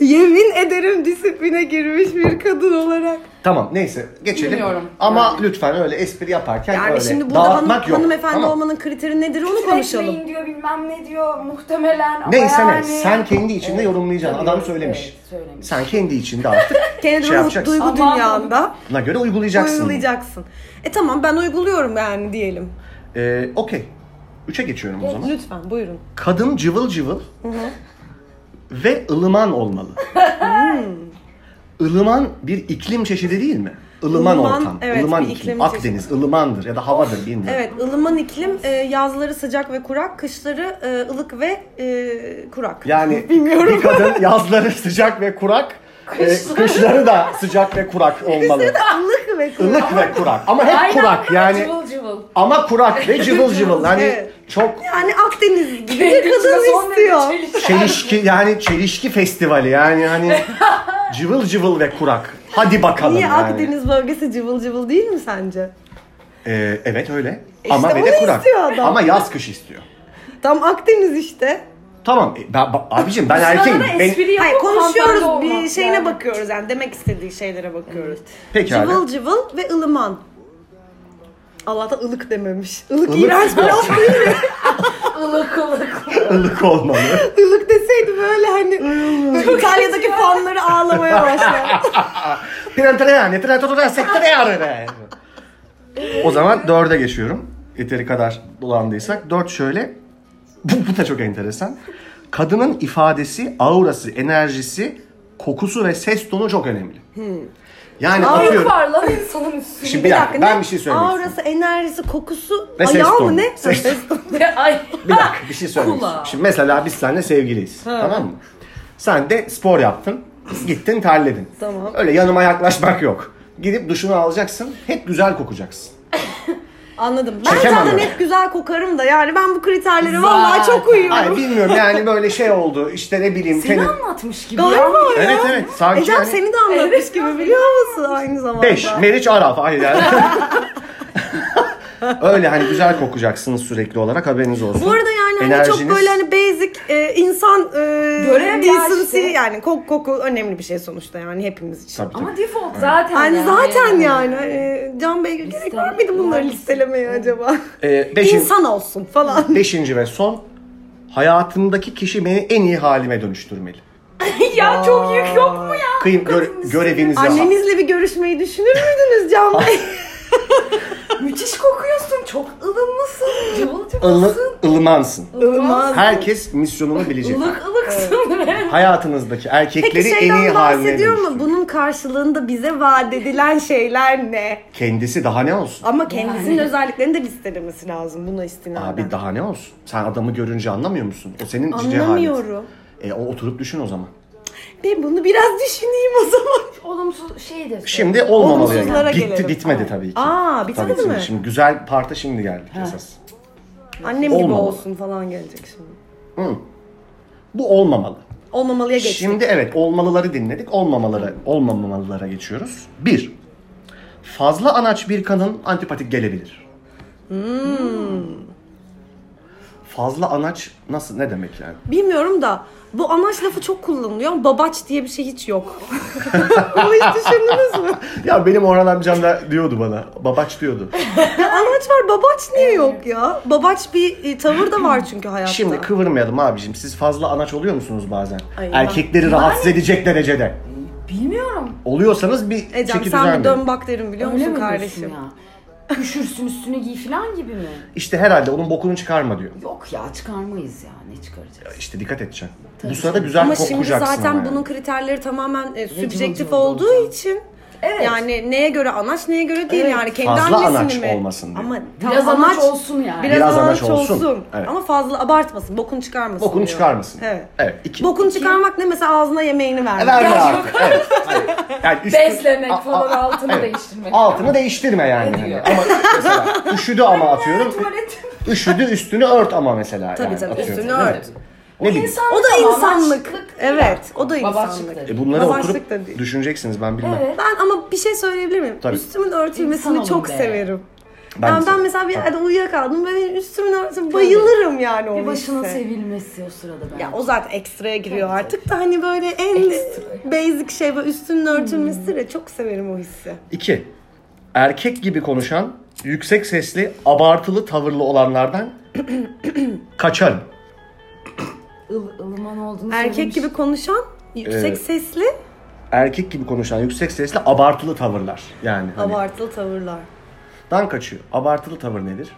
Speaker 2: yemin ederim disipline girmiş bir kadın olarak.
Speaker 1: Tamam neyse geçelim.
Speaker 3: Bilmiyorum.
Speaker 1: Ama
Speaker 3: Yani.
Speaker 1: lütfen öyle espri yaparken
Speaker 2: Yani
Speaker 1: öyle
Speaker 2: şimdi burada hanım,
Speaker 1: dağıtmak yok.
Speaker 2: hanımefendi
Speaker 1: Tamam.
Speaker 2: olmanın kriteri nedir onu
Speaker 3: Küfür
Speaker 2: konuşalım.
Speaker 3: etmeyin diyor bilmem ne diyor muhtemelen ama
Speaker 1: Neyse ne
Speaker 3: yani-
Speaker 1: sen kendi içinde yorumlayacaksın.
Speaker 3: Tabii,
Speaker 1: Adam söylemiş.
Speaker 3: evet, söylemiş.
Speaker 1: Sen kendi içinde artık
Speaker 2: Kendi
Speaker 1: şey
Speaker 2: ruh
Speaker 1: yapacaksın.
Speaker 2: duygu
Speaker 3: Aman.
Speaker 2: dünyanda
Speaker 1: Buna göre uygulayacaksın.
Speaker 2: uygulayacaksın. E tamam ben uyguluyorum yani diyelim.
Speaker 1: Ee, Okey. Üçe geçiyorum o zaman.
Speaker 2: Lütfen buyurun.
Speaker 1: Kadın cıvıl cıvıl ve ılıman olmalı.
Speaker 2: Hmm.
Speaker 1: Ilıman bir iklim çeşidi değil mi? Ilıman,
Speaker 2: Ilıman,
Speaker 1: ortam,
Speaker 2: evet,
Speaker 1: ılıman
Speaker 2: bir
Speaker 1: iklim.
Speaker 2: iklim
Speaker 1: Akdeniz ılımandır ya da havadır bilmiyorum.
Speaker 2: Evet ılıman iklim e, yazları sıcak ve kurak, kışları e, ılık ve e, kurak.
Speaker 1: Yani bir kadın yazları sıcak ve kurak, e,
Speaker 3: Kışları-
Speaker 1: kışları da sıcak ve kurak olmalı.
Speaker 2: Ilık ve kurak.
Speaker 1: Ilık ve kurak ama hep
Speaker 3: Aynen,
Speaker 1: kurak yani.
Speaker 3: Cıvıl cıvıl.
Speaker 1: Ama kurak ve cıvıl cıvıl. Hani
Speaker 2: Evet.
Speaker 1: çok
Speaker 2: Yani Akdeniz gibi bir kadın istiyor.
Speaker 1: çelişki yani çelişki festivali yani hani cıvıl cıvıl ve kurak. Hadi bakalım
Speaker 2: Niye
Speaker 1: yani.
Speaker 2: Akdeniz bölgesi cıvıl cıvıl değil mi sence?
Speaker 1: Ee, evet öyle. ama ve
Speaker 2: onu
Speaker 1: de kurak.
Speaker 2: istiyor adam.
Speaker 1: Ama yaz kış istiyor.
Speaker 2: Tam Akdeniz işte.
Speaker 1: Tamam e, ben, ba- abicim ben
Speaker 3: Sana
Speaker 1: erkeğim.
Speaker 3: da
Speaker 1: Ben-
Speaker 3: espri yapıp
Speaker 2: Hayır konuşuyoruz
Speaker 3: hanımefendi
Speaker 2: bir
Speaker 3: olmak
Speaker 2: şeyine
Speaker 3: yani.
Speaker 2: bakıyoruz yani demek istediği şeylere bakıyoruz.
Speaker 1: Pekala.
Speaker 2: Cıvıl cıvıl ve ılıman. Allah'tan ılık dememiş. Ilık,
Speaker 1: Ilık-
Speaker 2: iğrenç bir laf değil mi?
Speaker 3: Ilık ılık.
Speaker 1: ılık olmalı.
Speaker 2: Ilık deseydi böyle hani böyle İtalya'daki fanları ağlamaya başlar.
Speaker 1: Pirantreyane, pirantreyane, sektreyane. O zaman dörde geçiyorum. Yeteri kadar dolandıysak. Dört şöyle. Bu, bu da çok enteresan. Kadının ifadesi, aurası, enerjisi, kokusu ve ses tonu çok önemli. Yani
Speaker 3: Ağırlık
Speaker 1: atıyorum.
Speaker 3: var lan insanın üstünde.
Speaker 1: Şimdi bir dakika, ben bir şey söyleyeyim.
Speaker 2: Aurası, enerjisi, kokusu,
Speaker 1: Ve ses
Speaker 2: ayağı
Speaker 1: tonu.
Speaker 2: mı ne?
Speaker 1: Ses-
Speaker 2: tonu.
Speaker 3: Ay.
Speaker 1: Bir
Speaker 2: Ah,
Speaker 1: dakika bir şey söyleyeyim.
Speaker 3: Kulağa.
Speaker 1: Şimdi mesela biz seninle sevgiliyiz. Tamam mı? Sen de spor yaptın. Gittin terledin.
Speaker 2: Tamam.
Speaker 1: Öyle yanıma yaklaşmak yok. Gidip duşunu alacaksın. Hep güzel kokacaksın.
Speaker 2: Anladım. Ben
Speaker 1: Çekemem
Speaker 2: zaten
Speaker 1: öyle.
Speaker 2: hep güzel kokarım da yani ben bu kriterlere vallahi
Speaker 3: Zaten.
Speaker 2: çok uyuyorum.
Speaker 1: Ay bilmiyorum yani böyle şey oldu. İşte ne bileyim.
Speaker 3: Seni
Speaker 1: kendi-
Speaker 3: anlatmış gibi. ya.
Speaker 2: Galiba ya.
Speaker 1: Evet evet. Sanki
Speaker 2: Ecem
Speaker 1: yani-
Speaker 2: seni de anlatmış
Speaker 3: Evet,
Speaker 2: gibi biliyor musun aynı zamanda?
Speaker 1: Beş. Meriç Araf. Hayır yani. Öyle hani güzel kokacaksınız sürekli olarak haberiniz olsun.
Speaker 2: Bu arada yani hani çok
Speaker 1: Enerjiniz-
Speaker 2: böyle hani basic e, insan e,
Speaker 3: Görev ya
Speaker 2: decency
Speaker 3: işte.
Speaker 2: yani koku koku önemli bir şey sonuçta yani hepimiz için.
Speaker 1: Tabii, tabii.
Speaker 3: Ama default zaten.
Speaker 2: Yani
Speaker 3: yani.
Speaker 2: zaten yani e, Can Bey gerek var mıydı bunları listelemeye acaba?
Speaker 1: Ee, beşin-
Speaker 2: İnsan olsun falan.
Speaker 1: beşinci ve son. Hayatımdaki kişi beni en iyi halime dönüştürmeli.
Speaker 3: ya çok yük yok mu ya?
Speaker 1: Kıyım göre- görevinizi
Speaker 2: Annenizle bir görüşmeyi düşünür müydünüz Can Bey?
Speaker 3: Müthiş kokuyorsun. Çok ılımlısın. Cıvıl
Speaker 1: Ilı,
Speaker 3: cıvılsın.
Speaker 1: ılımansın.
Speaker 2: Olmaz.
Speaker 1: Herkes misyonunu bilecek.
Speaker 3: Ilık ılıksın.
Speaker 1: Hayatınızdaki erkekleri
Speaker 2: Peki
Speaker 1: en iyi
Speaker 2: şeyden
Speaker 1: haline
Speaker 2: bahsediyor
Speaker 1: dönüştürün.
Speaker 2: mu? Bunun karşılığında bize vaat edilen şeyler ne?
Speaker 1: Kendisi daha ne olsun?
Speaker 2: Ama kendisinin özelliklerini de listelemesi lazım buna istinaden.
Speaker 1: Abi daha ne olsun? Sen adamı görünce anlamıyor musun? O senin cehaletin.
Speaker 2: Anlamıyorum.
Speaker 1: E, o oturup düşün o zaman.
Speaker 2: Ben bunu biraz düşüneyim o zaman.
Speaker 3: Olumsuz şey de.
Speaker 1: Şimdi olmamalıya
Speaker 2: Olumsuzlara
Speaker 1: geldi. Bitti,
Speaker 2: gelelim.
Speaker 1: bitmedi tabii ki.
Speaker 2: Aa, bitmedi
Speaker 1: Tabii ki.
Speaker 2: mi?
Speaker 1: Şimdi güzel parta şimdi geldik esas.
Speaker 2: Annem gibi
Speaker 1: Olmamalı.
Speaker 2: olsun falan gelecek şimdi.
Speaker 1: Bu olmamalı.
Speaker 2: Olmamalıya geçtik.
Speaker 1: Şimdi evet olmalıları dinledik. Olmamalara, olmamalılara geçiyoruz. Bir, fazla anaç bir kadın antipatik gelebilir.
Speaker 2: Hmm.
Speaker 1: Fazla anaç nasıl ne demek yani?
Speaker 2: Bilmiyorum da bu anaç lafı çok kullanılıyor ama babaç diye bir şey hiç yok. Bunu hiç düşündünüz mü?
Speaker 1: Ya benim Orhan amcam da diyordu bana. Babaç diyordu.
Speaker 2: Ya anaç var babaç niye yok ya? Babaç bir e, tavır da var çünkü hayatta.
Speaker 1: Şimdi kıvırmayalım abicim. Siz fazla anaç oluyor musunuz bazen?
Speaker 2: Ay,
Speaker 1: Erkekleri rahatsız edecek derecede.
Speaker 3: Bilmiyorum.
Speaker 1: Oluyorsanız bir çeki
Speaker 2: Ecem sen
Speaker 1: düzen
Speaker 2: bir
Speaker 1: verin.
Speaker 2: dön bak derim biliyor
Speaker 3: Öyle mi
Speaker 2: musun
Speaker 3: kardeşim
Speaker 2: kardeşim?
Speaker 3: ya? Üşürsün üstünü giy falan gibi mi?
Speaker 1: İşte herhalde onun bokunu çıkarma diyor.
Speaker 3: Yok ya çıkarmayız ya. Ne çıkaracağız?
Speaker 1: İşte dikkat edeceksin. Bu sırada güzel
Speaker 2: Ama şimdi
Speaker 1: kokacaksın
Speaker 2: zaten
Speaker 1: ama yani.
Speaker 2: bunun kriterleri tamamen e,
Speaker 3: cıvıl
Speaker 2: subjektif
Speaker 3: cıvıl
Speaker 2: olduğu
Speaker 3: olacak.
Speaker 2: için
Speaker 3: Evet.
Speaker 2: Yani neye göre anaç neye göre değil
Speaker 3: Evet.
Speaker 2: yani kendi
Speaker 1: Fazla
Speaker 2: annesini
Speaker 1: anaç
Speaker 2: mi?
Speaker 1: olmasın diye.
Speaker 2: Ama
Speaker 3: Biraz
Speaker 2: tam
Speaker 3: amaç olsun yani.
Speaker 2: Biraz,
Speaker 1: Biraz
Speaker 2: anaç,
Speaker 1: anaç
Speaker 2: olsun.
Speaker 1: olsun. Evet.
Speaker 2: Ama fazla abartmasın. Bokunu çıkarmasın.
Speaker 1: Bokunu
Speaker 2: diyor.
Speaker 1: çıkarmasın.
Speaker 2: Şey Evet.
Speaker 1: Evet. iki.
Speaker 2: Bokunu çıkarmak ne mesela ağzına yemeğini vermek.
Speaker 1: Verme
Speaker 2: Ya-
Speaker 1: artık. Evet. Hayır. Yani üstü-
Speaker 4: Beslemek
Speaker 1: A- a-
Speaker 4: falan altını
Speaker 1: evet.
Speaker 4: değiştirmek.
Speaker 1: Altını değiştirme yani.
Speaker 4: Ne diyor?
Speaker 1: Hani. Ama mesela üşüdü ama atıyorum.
Speaker 4: Tuvalet.
Speaker 1: Üşüdü üstünü ört ama mesela.
Speaker 2: Tabii
Speaker 1: yani
Speaker 2: tabii
Speaker 1: atıyorum.
Speaker 2: üstünü ört.
Speaker 1: Ne bileyim.
Speaker 4: İnsan
Speaker 2: O da
Speaker 4: ama
Speaker 2: insanlık.
Speaker 4: amaçlık
Speaker 2: Evet o da
Speaker 3: Babaçlık
Speaker 2: insanlık.
Speaker 3: da
Speaker 1: E bunları
Speaker 2: Babaçlık
Speaker 1: oturup
Speaker 2: da değil.
Speaker 1: düşüneceksiniz ben bilmem.
Speaker 4: Evet.
Speaker 2: Ben ama bir şey söyleyebilir miyim?
Speaker 1: Tabii.
Speaker 2: Üstümün örtülmesini
Speaker 3: İnsan olun
Speaker 2: çok
Speaker 3: be.
Speaker 2: severim.
Speaker 1: Ben
Speaker 2: Ben,
Speaker 1: de
Speaker 2: yani ben
Speaker 1: severim.
Speaker 2: mesela bir yerde uyuyakaldım ve benim üstümün örtüsü bayılırım yani o
Speaker 3: Bir başının
Speaker 2: hisse.
Speaker 3: sevilmesi o sırada bence.
Speaker 2: Ya o zaten ekstraya giriyor artık da hani böyle en basic şey böyle üstünün örtülmesi de çok severim o hissi.
Speaker 1: İki. Erkek gibi konuşan, yüksek sesli, abartılı tavırlı olanlardan kaçarım.
Speaker 3: Il- ılıman olduğunu
Speaker 2: Erkek
Speaker 3: söylemiş.
Speaker 2: gibi konuşan, yüksek
Speaker 1: Evet.
Speaker 2: sesli,
Speaker 1: Erkek gibi konuşan, yüksek sesli, abartılı tavırlar. Yani hani
Speaker 2: abartılı tavırlar.
Speaker 1: dan kaçıyor. Abartılı tavır nedir?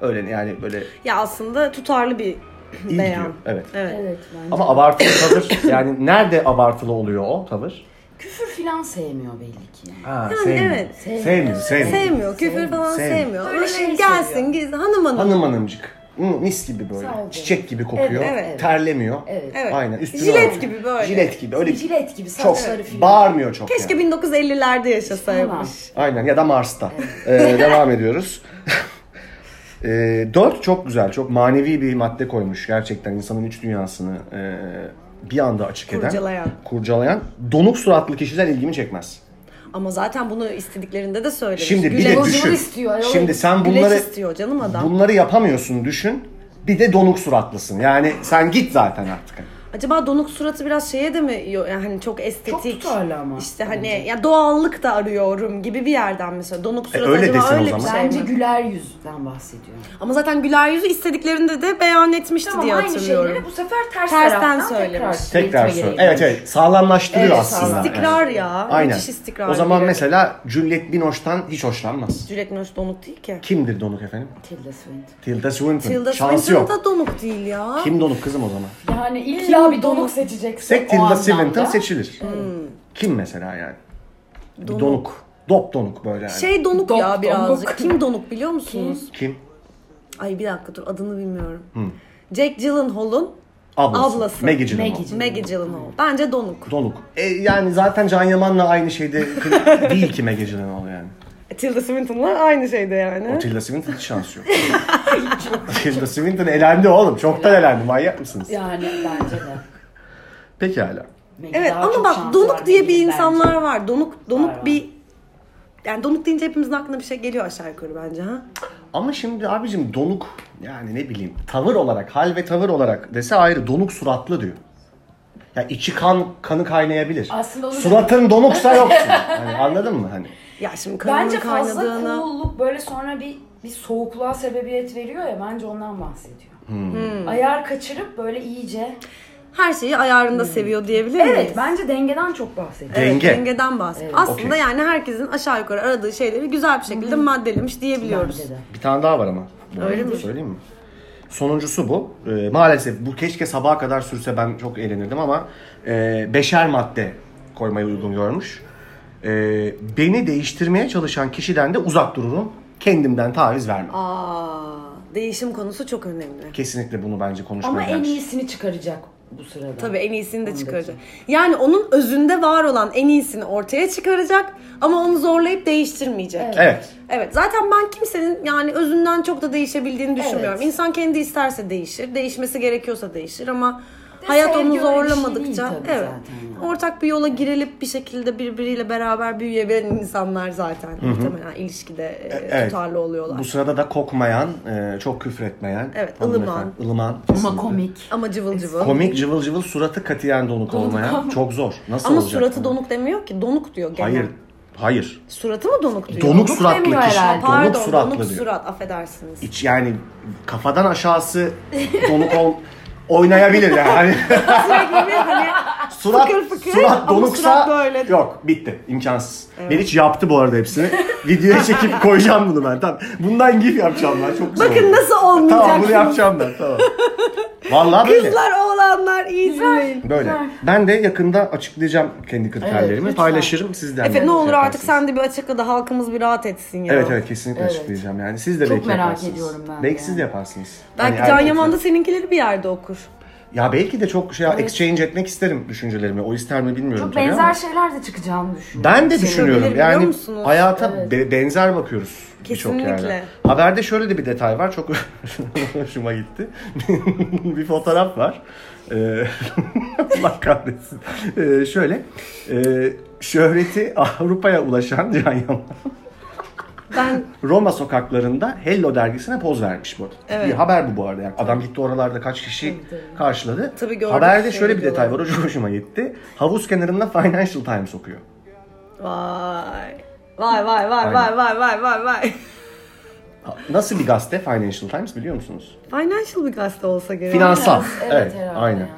Speaker 1: Öyle yani böyle
Speaker 2: Ya aslında tutarlı bir
Speaker 1: iyi gidiyor.
Speaker 2: beyan.
Speaker 1: Evet.
Speaker 2: Evet.
Speaker 3: Evet bence.
Speaker 1: Ama abartılı tavır yani nerede abartılı oluyor o tavır?
Speaker 3: Küfür filan sevmiyor belli ki. yani.
Speaker 1: Ha,
Speaker 2: Yani
Speaker 1: sevmiyor.
Speaker 2: evet.
Speaker 1: Sevmiyor, sevmiyor.
Speaker 2: Sevmiyor, küfür falan
Speaker 1: sevmiyor.
Speaker 2: sevmiyor.
Speaker 3: Öyle
Speaker 2: Öyle
Speaker 3: şey
Speaker 2: gelsin,
Speaker 3: seviyor.
Speaker 2: gizli, hanım hanım.
Speaker 1: Hanım hanımcık. Hı, mis gibi
Speaker 3: Sağ
Speaker 1: böyle.
Speaker 3: ol.
Speaker 1: Çiçek gibi kokuyor.
Speaker 2: Evet, evet.
Speaker 1: Terlemiyor.
Speaker 3: Evet.
Speaker 2: Evet.
Speaker 1: Aynen. Üstünü
Speaker 2: Jilet
Speaker 1: örtüyor.
Speaker 2: gibi böyle.
Speaker 1: Jilet gibi. Öyle
Speaker 3: Jilet gibi
Speaker 1: çok
Speaker 3: saçları filan.
Speaker 1: bağırmıyor çok
Speaker 2: Keşke
Speaker 1: yani.
Speaker 2: 1950'lerde yaşasaymış.
Speaker 1: Aynen ya da Mars'ta. Ee, devam ediyoruz. Ee, dört çok güzel, çok manevi bir madde koymuş gerçekten insanın iç dünyasını e, bir anda açık eden,
Speaker 2: Kurcalayan.
Speaker 1: kurcalayan. Donuk suratlı kişiler ilgimi çekmez.
Speaker 2: Ama zaten bunu istediklerinde de söylemiş.
Speaker 1: Şimdi bir
Speaker 2: Güleç-
Speaker 1: de
Speaker 3: Güleç
Speaker 1: düşün.
Speaker 3: istiyor, ayol.
Speaker 1: Şimdi sen
Speaker 2: güleç
Speaker 1: bunları
Speaker 2: istiyor canım adam.
Speaker 1: bunları yapamıyorsun düşün. Bir de donuk suratlısın. Yani sen git zaten artık.
Speaker 2: Acaba donuk suratı biraz şeye de mi yo- yani hani çok
Speaker 3: Çok
Speaker 2: estetik.
Speaker 3: tutarlı ama.
Speaker 2: işte hani ya doğallık da arıyorum gibi bir yerden mesela donuk surat
Speaker 1: E, öyle
Speaker 2: acaba
Speaker 1: desin o
Speaker 2: öyle bir
Speaker 1: zaman.
Speaker 2: şey
Speaker 3: Bence
Speaker 2: mi?
Speaker 3: güler yüzden bahsediyor.
Speaker 2: Ama zaten güler yüzü istediklerinde de beyan etmişti
Speaker 4: Tamam
Speaker 2: diye
Speaker 4: aynı
Speaker 2: hatırlıyorum.
Speaker 4: şeyleri bu sefer ters
Speaker 2: Tersten
Speaker 4: taraftan
Speaker 2: söylemiş.
Speaker 4: tekrar.
Speaker 1: Tekrar
Speaker 3: Eğitime
Speaker 1: söyle.
Speaker 3: gereği
Speaker 1: Evet
Speaker 3: duymuş.
Speaker 1: evet. Sağlamlaştırıyor
Speaker 3: Evet,
Speaker 1: aslında.
Speaker 3: sağlam.
Speaker 2: İstikrar
Speaker 1: Evet.
Speaker 2: ya.
Speaker 1: Aynen.
Speaker 2: Müthiş istikrar.
Speaker 1: O zaman
Speaker 2: biri.
Speaker 1: mesela Juliette Binoche'tan hiç hoşlanmaz.
Speaker 2: Juliette Binoche donuk değil ki.
Speaker 1: Kimdir donuk efendim?
Speaker 3: Tilda Swinton.
Speaker 1: Tilda Swinton.
Speaker 2: Tilda
Speaker 1: Şansı
Speaker 2: Swinton
Speaker 1: yok.
Speaker 2: da donuk değil ya.
Speaker 1: Kim donuk kızım o zaman?
Speaker 3: Yani illa bir donuk seçeceksin.
Speaker 1: Tek Tilda Swinton seçilir. Kim mesela yani? Bir Donuk. Dop donuk böyle yani.
Speaker 2: Şey donuk
Speaker 4: Dok-
Speaker 2: ya birazcık.
Speaker 4: donuk.
Speaker 2: Kim donuk biliyor musunuz?
Speaker 1: Kim?
Speaker 2: Ay bir dakika dur adını bilmiyorum. Jack Gyllenhaal'ın
Speaker 1: Ablası.
Speaker 2: Ablası.
Speaker 1: Maggie Gyllenhaal.
Speaker 3: Maggie Gyllenhaal.
Speaker 2: Maggie Gyllenhaal. Bence donuk.
Speaker 1: Donuk. E, yani zaten Can Yaman'la aynı şeyde değil ki Maggie Gyllenhaal yani.
Speaker 2: Tilda Swinton'la aynı şeyde yani.
Speaker 1: O Tilda Swinton hiç şansı yok. Tilda Swinton elendi oğlum. Çoktan elendi. Manyak mısınız?
Speaker 3: Yani bence de.
Speaker 1: Pekala.
Speaker 3: Meghan
Speaker 2: Evet
Speaker 3: daha
Speaker 2: ama
Speaker 3: çok
Speaker 2: bak
Speaker 3: şansı
Speaker 2: donuk
Speaker 3: var
Speaker 2: diye bir
Speaker 3: Meghan'in
Speaker 2: insanlar
Speaker 3: bence.
Speaker 2: var. Donuk donuk
Speaker 3: Var, var.
Speaker 2: bir yani donuk deyince hepimizin aklına bir şey geliyor aşağı yukarı bence ha.
Speaker 1: Ama şimdi abicim donuk yani ne bileyim tavır olarak hal ve tavır olarak dese ayrı donuk suratlı diyor. Ya içi kan kanı kaynayabilir.
Speaker 3: Aslında onu-
Speaker 1: Suratın donuksa yoksun. Hani anladın mı hani?
Speaker 2: Ya şimdi kanının
Speaker 3: Bence fazla
Speaker 2: kaynadığını
Speaker 3: coolluk böyle sonra bir bir soğukluğa sebebiyet veriyor ya bence ondan bahsediyor.
Speaker 1: Hmm.
Speaker 2: Hmm.
Speaker 3: Ayar kaçırıp böyle iyice.
Speaker 2: her şeyi ayarında seviyor diyebilir miyiz?
Speaker 3: Hmm. Evet bence dengeden çok bahsediyor.
Speaker 1: Evet. Denge.
Speaker 2: Dengeden bahsediyor. Aslında
Speaker 1: Okey.
Speaker 2: yani herkesin aşağı yukarı aradığı şeyleri güzel bir şekilde maddelemiş diyebiliyoruz.
Speaker 3: Bence de.
Speaker 1: Bir tane daha var ama. Bu
Speaker 2: Öyle
Speaker 1: arada
Speaker 2: mi?
Speaker 1: Söyleyeyim mi? Sonuncusu bu. Ee, maalesef bu keşke sabaha kadar sürse ben çok eğlenirdim ama e, beşer madde koymayı uygun görmüş. E, beni değiştirmeye çalışan kişiden de uzak dururum. Kendimden taviz vermem.
Speaker 2: Aa, değişim konusu çok önemli.
Speaker 1: Kesinlikle bunu bence konuşmaya
Speaker 3: Ama en
Speaker 1: değer.
Speaker 3: iyisini çıkaracak bu sırada.
Speaker 2: Tabii en iyisini de
Speaker 3: Ondaki.
Speaker 2: çıkaracak. Yani onun özünde var olan en iyisini ortaya çıkaracak ama onu zorlayıp değiştirmeyecek. Evet.
Speaker 1: Evet.
Speaker 2: Zaten ben kimsenin yani özünden çok da değişebildiğini düşünmüyorum.
Speaker 3: Evet.
Speaker 2: İnsan kendi isterse değişir. Değişmesi gerekiyorsa değişir ama
Speaker 3: De
Speaker 2: hayat
Speaker 3: sevgi
Speaker 2: onu
Speaker 3: öyle bir şey değil
Speaker 2: zorlamadıkça
Speaker 3: tabii
Speaker 2: evet.
Speaker 3: zaten yani.
Speaker 2: Ortak bir yola girilip bir şekilde birbiriyle beraber büyüyebilen insanlar zaten muhtemelen ilişkide e,
Speaker 1: evet.
Speaker 2: tutarlı oluyorlar.
Speaker 1: Bu sırada da kokmayan, e, çok küfür etmeyen.
Speaker 2: Evet,
Speaker 1: hanımefendi-
Speaker 2: ılıman.
Speaker 1: ılıman
Speaker 3: Ama
Speaker 1: kesinlikle.
Speaker 3: komik.
Speaker 2: Ama cıvıl cıvıl.
Speaker 1: Komik, cıvıl cıvıl, suratı katiyen donuk, olmayan. Çok zor. Nasıl
Speaker 2: ama
Speaker 1: olacak?
Speaker 2: suratı
Speaker 1: yani?
Speaker 2: donuk demiyor ki. Donuk diyor genel.
Speaker 1: Hayır. Hayır.
Speaker 2: Suratı mı donuk diyor?
Speaker 1: Donuk suratlı
Speaker 3: demiyor
Speaker 1: kişi.
Speaker 3: herhalde.
Speaker 1: Donuk
Speaker 2: Pardon,
Speaker 1: suratlı
Speaker 2: donuk
Speaker 1: diyor.
Speaker 2: surat affedersiniz.
Speaker 1: İç yani kafadan aşağısı donuk ol, oynayabilir yani. Hani
Speaker 2: Sürekli bir hani
Speaker 1: surat,
Speaker 2: Fıkır fıkır
Speaker 1: surat
Speaker 2: ama
Speaker 1: donuksa
Speaker 2: surat böyle.
Speaker 1: yok bitti imkansız. Meriç yaptı bu arada hepsini. Videoya çekip koyacağım bunu ben. Tamam. Bundan gif yapacağım ben. Çok güzel oldu.
Speaker 2: bakın nasıl olmayacak.
Speaker 1: Tamam bunu yapacağım ben. Tamam. Vallahi böyle.
Speaker 2: Kızlar oğlan olanlar iyi dinleyin.
Speaker 1: Böyle.
Speaker 3: Güzel.
Speaker 1: Ben de yakında açıklayacağım kendi kriterlerimi.
Speaker 3: lütfen.
Speaker 1: Paylaşırım sizden.
Speaker 2: Efe
Speaker 1: de
Speaker 2: ne olur
Speaker 1: şey
Speaker 2: artık
Speaker 1: yaparsınız.
Speaker 2: sen de bir açıkla da halkımız bir rahat etsin ya.
Speaker 1: Evet evet kesinlikle
Speaker 3: Evet.
Speaker 1: açıklayacağım yani. Siz de
Speaker 3: Çok
Speaker 1: belki
Speaker 3: merak
Speaker 1: yaparsınız.
Speaker 3: ediyorum ben
Speaker 1: Belki
Speaker 3: yani.
Speaker 1: siz de yaparsınız.
Speaker 2: Belki
Speaker 1: Hani
Speaker 2: Can
Speaker 1: erkek-
Speaker 2: Yaman da seninkileri bir yerde okur.
Speaker 1: Ya belki de çok şey exchange etmek isterim düşüncelerimi. O ister mi bilmiyorum
Speaker 3: Çok
Speaker 1: tabii
Speaker 3: benzer
Speaker 1: ama.
Speaker 3: şeyler de çıkacağını düşünüyorum.
Speaker 1: Ben de
Speaker 3: Senin.
Speaker 1: düşünüyorum.
Speaker 2: biliyor
Speaker 1: Yani
Speaker 2: musunuz?
Speaker 1: hayata be- benzer bakıyoruz birçok
Speaker 2: Kesinlikle.
Speaker 1: yerde. Haberde şöyle de bir detay var. Çok hoşuma gitti. bir fotoğraf var. Ee, Allah kahretsin. Ee, şöyle. ee, şöhreti Avrupa'ya ulaşan Can Yaman.
Speaker 2: Ben
Speaker 1: Roma sokaklarında Hello dergisine poz vermiş bu.
Speaker 2: Evet.
Speaker 1: Bir haber bu bu arada. Yani adam gitti oralarda kaç kişi karşıladı.
Speaker 2: Tabii gördüm,
Speaker 1: Haberde
Speaker 2: şey
Speaker 1: şöyle bir detay var.
Speaker 2: diyorlar.
Speaker 1: O çok hoşuma gitti. Havuz kenarında Financial Times okuyor.
Speaker 2: vay. Vay vay vay vay
Speaker 1: Aynen.
Speaker 2: vay vay vay vay.
Speaker 1: Ha- Nasıl bir gazete Financial Times biliyor musunuz?
Speaker 2: Financial bir gazete olsa gerek.
Speaker 1: Finansal.
Speaker 3: Evet,
Speaker 1: Evet,
Speaker 3: herhalde
Speaker 1: aynen.
Speaker 3: yani.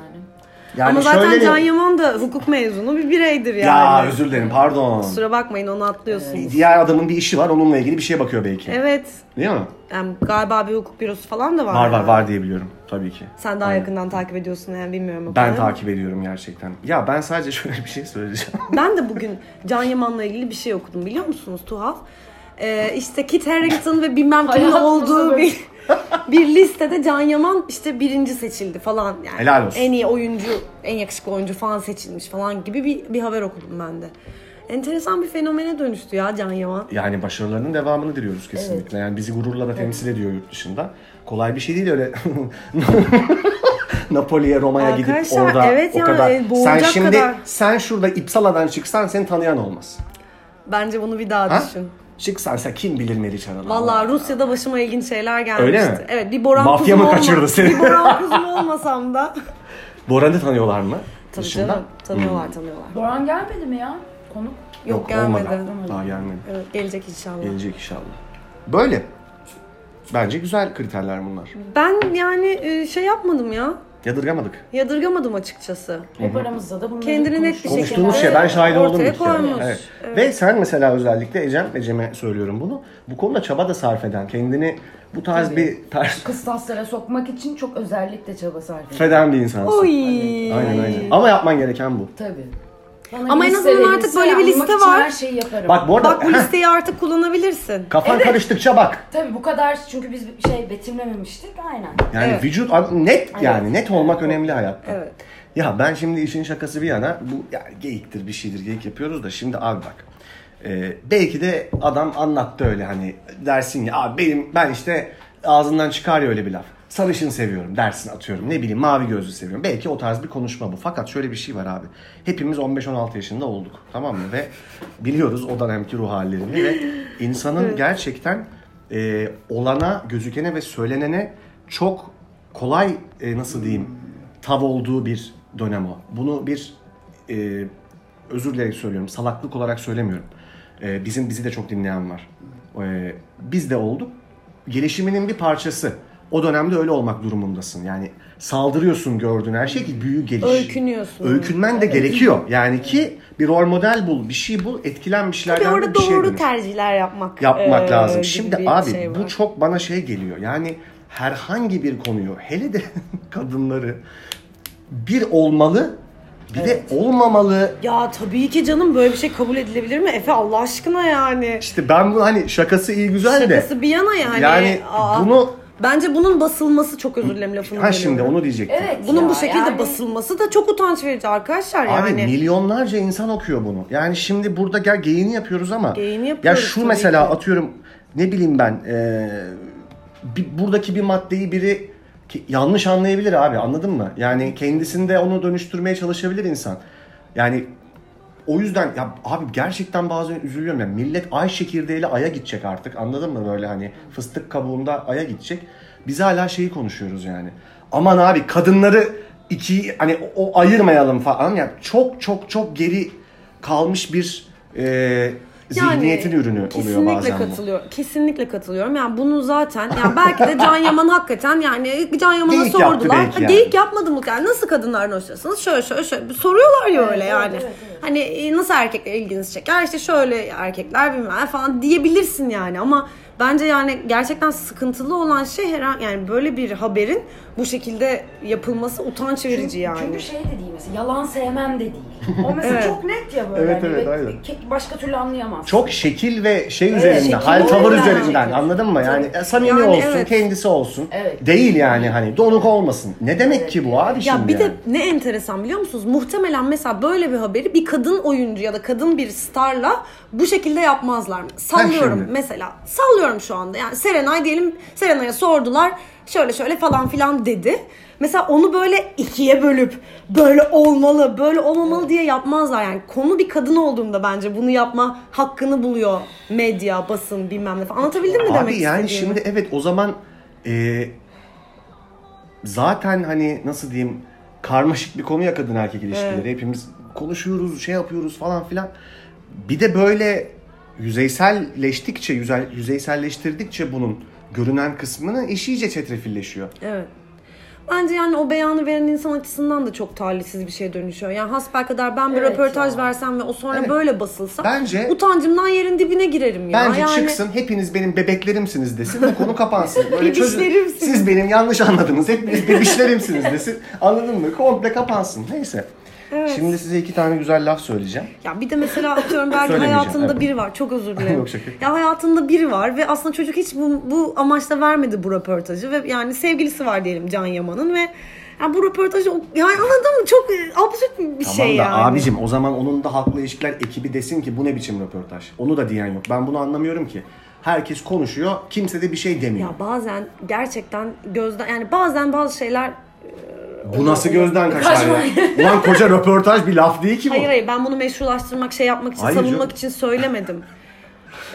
Speaker 1: Yani
Speaker 2: Ama zaten
Speaker 1: şöyle bir-
Speaker 2: Can Yaman da hukuk mezunu bir bireydir yani.
Speaker 1: Ya özür dilerim pardon.
Speaker 2: Kusura bakmayın onu atlıyorsunuz.
Speaker 1: Diğer adamın bir işi var onunla ilgili bir şeye bakıyor belki.
Speaker 2: Evet.
Speaker 1: Değil mi?
Speaker 2: Yani galiba bir hukuk bürosu falan da var.
Speaker 1: Var var var diye biliyorum tabii ki.
Speaker 2: Sen daha yakından takip ediyorsun yani bilmiyorum. o
Speaker 1: Ben
Speaker 2: kadar.
Speaker 1: takip ediyorum gerçekten. Ya ben sadece şöyle bir şey söyleyeceğim.
Speaker 2: Ben de bugün Can Yaman'la ilgili bir şey okudum biliyor musunuz? Tuhaf. Ee, işte Kit Harington ve bilmem kimin
Speaker 3: Hayatımızda
Speaker 2: olduğu
Speaker 3: böyle-
Speaker 2: bir bir listede Can Yaman işte birinci seçildi falan yani.
Speaker 1: Helal olsun.
Speaker 2: En iyi oyuncu, en yakışıklı oyuncu falan seçilmiş falan gibi bir, bir haber okudum ben de. Enteresan bir fenomene dönüştü ya Can Yaman.
Speaker 1: Yani başarılarının devamını diliyoruz kesinlikle. Yani bizi gururla da temsil ediyor yurt dışında. Kolay bir şey değil öyle Napoli'ye, Roma'ya gidip
Speaker 2: Arkadaşlar,
Speaker 1: orada
Speaker 2: evet
Speaker 1: o
Speaker 2: ya,
Speaker 1: kadar.
Speaker 2: e,
Speaker 1: sen
Speaker 2: boğulacak
Speaker 1: şimdi
Speaker 2: kadar.
Speaker 1: sen şurada İpsala'dan çıksan seni tanıyan olmaz.
Speaker 2: Bence bunu bir daha
Speaker 1: Ha?
Speaker 2: düşün.
Speaker 1: Çıksan sen kim bilir Meriç Aral'ı?
Speaker 2: Vallahi Rusya'da başıma ilginç şeyler gelmişti.
Speaker 1: Öyle mi?
Speaker 2: Evet bir Boran
Speaker 1: Mafya
Speaker 2: kuzum
Speaker 1: mı
Speaker 2: olma-
Speaker 1: kaçırdı seni?
Speaker 2: Bir Boran kuzum olmasam da.
Speaker 1: Boran'ı tanıyorlar mı?
Speaker 2: Tabii
Speaker 1: Dışında?
Speaker 2: canım
Speaker 1: Hmm.
Speaker 2: tanıyorlar tanıyorlar. Yok,
Speaker 3: Boran gelmedi mi ya? Konuk.
Speaker 2: gelmedi.
Speaker 1: olmadan. Daha gelmedi.
Speaker 2: Evet, gelecek inşallah.
Speaker 1: Gelecek inşallah. Böyle. Bence güzel kriterler bunlar.
Speaker 2: Ben yani e, şey yapmadım ya.
Speaker 1: Yadırgamadık.
Speaker 2: Yadırgamadım açıkçası.
Speaker 3: Hep aramızda da bunları
Speaker 2: Kendini net bir
Speaker 3: konuşuyoruz.
Speaker 2: şekilde-
Speaker 1: Konuştuğumuz şey ben şahit
Speaker 2: Ortaya
Speaker 1: oldum. bir kere.
Speaker 2: koymuş.
Speaker 1: Evet.
Speaker 2: Evet.
Speaker 1: Ve sen mesela özellikle Ecem, Ecem'e söylüyorum bunu. Bu konuda çaba da sarf eden, kendini bu tarz bir tarz
Speaker 3: Kıstaslara sokmak için çok özellikle çaba sarf ediyor.
Speaker 1: feden bir insansın.
Speaker 2: Oy.
Speaker 1: hani, Aynen aynen. Ama yapman gereken bu.
Speaker 3: Tabii.
Speaker 2: Ama en azından artık böyle bir liste var.
Speaker 3: Her şeyi yaparım.
Speaker 1: Bak bu arada
Speaker 2: Bak bu listeyi artık kullanabilirsin.
Speaker 1: kafan karıştıkça bak.
Speaker 3: Tabii bu kadar çünkü biz bir şey betimlememiştik aynen.
Speaker 1: Yani
Speaker 2: Evet.
Speaker 1: vücut net yani
Speaker 3: Evet.
Speaker 1: net olmak önemli hayatta.
Speaker 2: Evet.
Speaker 1: Ya ben şimdi işin şakası bir yana bu yani geyiktir bir şeydir geyik yapıyoruz da şimdi abi bak. Ee, belki de adam anlattı öyle hani dersin ya abi benim ben işte ağzından çıkar ya öyle bir laf. Sarışın seviyorum dersin atıyorum ne bileyim mavi gözlü seviyorum. Belki o tarz bir konuşma bu. Fakat şöyle bir şey var abi. Hepimiz 15-16 yaşında olduk tamam mı? Ve biliyoruz o dönemki ruh hallerini ve insanın gerçekten e, olana, gözükene ve söylenene çok kolay e, nasıl diyeyim tav olduğu bir dönem o. Bunu bir e, özür dileyerek söylüyorum. Salaklık olarak söylemiyorum. E, bizim bizi de çok dinleyen var. E, biz de olduk. Gelişiminin bir parçası. O dönemde öyle olmak durumundasın. Yani saldırıyorsun gördüğün her şey ki büyü geliş.
Speaker 2: Öykünüyorsun.
Speaker 1: Öykünmen de gerekiyor. Yani ki bir rol model bul, bir şey bul, etkilen bir
Speaker 2: Tabii
Speaker 1: şeylerden de
Speaker 2: orada
Speaker 1: bir şey
Speaker 2: doğru
Speaker 1: dönüş
Speaker 2: tercihler yapmak.
Speaker 1: yapmak
Speaker 2: e,
Speaker 1: lazım.
Speaker 2: gibi
Speaker 1: Şimdi
Speaker 2: bir
Speaker 1: abi
Speaker 2: şey
Speaker 1: bu
Speaker 2: var.
Speaker 1: çok bana şey geliyor. Yani herhangi bir konuyu hele de kadınları bir olmalı bir de olmamalı.
Speaker 2: Ya tabii ki canım böyle bir şey kabul edilebilir mi? Efe Allah aşkına yani.
Speaker 1: İşte ben bu hani şakası iyi güzel de.
Speaker 2: Şakası bir yana yani.
Speaker 1: Yani
Speaker 2: Aa,
Speaker 1: bunu
Speaker 2: Bence bunun basılması çok özür dilerim lafını
Speaker 1: ha şimdi
Speaker 2: bölüyorum.
Speaker 1: onu diyecektim.
Speaker 3: Evet.
Speaker 2: Bunun
Speaker 3: Ya
Speaker 2: bu şekilde
Speaker 3: yani-
Speaker 2: basılması da çok utanç verici arkadaşlar
Speaker 1: Abi
Speaker 2: yani.
Speaker 1: milyonlarca insan okuyor bunu. Yani şimdi burada gel geyini yapıyoruz ama
Speaker 2: Geyini
Speaker 1: ya
Speaker 2: yapıyoruz
Speaker 1: şu
Speaker 2: tabii
Speaker 1: mesela
Speaker 2: ki.
Speaker 1: atıyorum ne bileyim ben eee, bir- buradaki bir maddeyi biri ki- yanlış anlayabilir abi anladın mı? Yani kendisinde onu dönüştürmeye çalışabilir insan. Yani o yüzden ya abi gerçekten bazen üzülüyorum ya. Millet ay çekirdeğiyle aya gidecek artık. Anladın mı böyle hani fıstık kabuğunda aya gidecek. Biz hala şeyi konuşuyoruz yani. Aman abi kadınları iki hani o, o ayırmayalım falan ya. Çok çok çok geri kalmış bir e, zihniyetin ürünü oluyor
Speaker 2: kesinlikle
Speaker 1: bazen bu.
Speaker 2: katılıyorum. Kesinlikle katılıyorum. Yani bunu zaten yani belki de Can Yaman hakikaten yani Can Yaman'a
Speaker 1: Geyik yaptı
Speaker 2: sordular.
Speaker 1: belki
Speaker 2: Ha,
Speaker 1: yani.
Speaker 2: Geyik yapmadı mı? Yani nasıl kadınlardan hoşlanıyorsunuz? Şöyle şöyle şöyle. Soruyorlar ya öyle yani. Hani e, nasıl erkekler ilginizi çeker? İşte şöyle erkekler bilmem falan diyebilirsin yani ama Bence yani gerçekten sıkıntılı olan şey her yani böyle bir haberin bu şekilde yapılması utanç verici
Speaker 3: Çünkü,
Speaker 2: yani.
Speaker 3: çünkü şey de değil mesela yalan sevmem de değil. O mesela
Speaker 2: Evet.
Speaker 3: çok net ya böyle.
Speaker 1: Evet,
Speaker 3: hani
Speaker 1: evet,
Speaker 3: ve-
Speaker 1: aynen.
Speaker 3: ke- Başka türlü anlayamazsın.
Speaker 1: Çok şekil ve şey
Speaker 3: Evet,
Speaker 1: üzerinde,
Speaker 3: şekil
Speaker 1: hal tavır
Speaker 3: üzerinden
Speaker 1: üzerinden
Speaker 3: çekiyor.
Speaker 1: anladın mı? Yani e, samimi
Speaker 2: Yani
Speaker 1: olsun,
Speaker 2: evet.
Speaker 1: kendisi olsun.
Speaker 3: Evet.
Speaker 1: Değil yani hani donuk olmasın. Ne demek ki bu abi
Speaker 2: Ya
Speaker 1: şimdi?
Speaker 2: bir de
Speaker 1: yani?
Speaker 2: ne enteresan biliyor musunuz? Muhtemelen mesela böyle bir haberi bir kadın oyuncu ya da kadın bir starla bu şekilde yapmazlar. Sallıyorum
Speaker 1: şimdi.
Speaker 2: mesela. Sallıyorum şu anda. Yani Serenay diyelim Serenay'a sordular şöyle şöyle falan filan dedi. Mesela onu böyle ikiye bölüp böyle olmalı, böyle olmamalı diye yapmazlar. Yani konu bir kadın olduğunda bence bunu yapma hakkını buluyor medya, basın bilmem ne falan. Anlatabildim mi demek
Speaker 1: Abi yani
Speaker 2: istediğimi?
Speaker 1: şimdi evet o zaman e, zaten hani nasıl diyeyim karmaşık bir konu ya kadın erkek ilişkileri. Hepimiz konuşuyoruz, şey yapıyoruz falan filan. Bir de böyle yüzeyselleştikçe, yüzel- yüzeyselleştirdikçe bunun görünen kısmını iş iyice çetrefilleşiyor.
Speaker 2: Evet. Bence yani o beyanı veren insan açısından da çok talihsiz bir şeye dönüşüyor. Yani hasbelkader ben bir
Speaker 3: Evet
Speaker 2: röportaj
Speaker 3: ya.
Speaker 2: versem ve o sonra
Speaker 1: Evet.
Speaker 2: böyle basılsa
Speaker 1: Bence-
Speaker 2: utancımdan yerin dibine girerim ya.
Speaker 1: Bence
Speaker 2: yani,
Speaker 1: çıksın hepiniz benim bebeklerimsiniz desin bu konu kapansın. Böyle çözün.
Speaker 2: Bebişlerimsiniz.
Speaker 1: Siz benim yanlış anladınız. Hepiniz bebişlerimsiniz desin. Anladın mı? Komple kapansın. Neyse. Şimdi size iki tane güzel laf söyleyeceğim.
Speaker 2: Ya bir de mesela atıyorum belki
Speaker 1: Söylemeyeceğim,
Speaker 2: hayatında
Speaker 1: evet.
Speaker 2: biri var. Çok özür dilerim.
Speaker 1: Yok, şaka.
Speaker 2: Ya hayatında biri var ve aslında çocuk hiç bu, bu amaçla vermedi bu röportajı ve yani sevgilisi var diyelim Can Yaman'ın ve ya bu röportajı o- yani anladın mı? Çok e, absürt bir
Speaker 1: Tamam
Speaker 2: şey
Speaker 1: da
Speaker 2: yani.
Speaker 1: abicim o zaman onun da haklı ilişkiler ekibi desin ki bu ne biçim röportaj. Onu da diyen yok. Ben bunu anlamıyorum ki. Herkes konuşuyor. Kimse de bir şey demiyor.
Speaker 2: Ya bazen gerçekten gözden yani bazen bazı şeyler
Speaker 1: bu nasıl gözden kaçar ya?
Speaker 3: Kaçma.
Speaker 1: Ulan koca röportaj bir laf değil ki bu.
Speaker 2: Hayır hayır ben bunu meşrulaştırmak, şey yapmak için,
Speaker 1: Hayır
Speaker 2: savunmak
Speaker 1: canım.
Speaker 2: için söylemedim.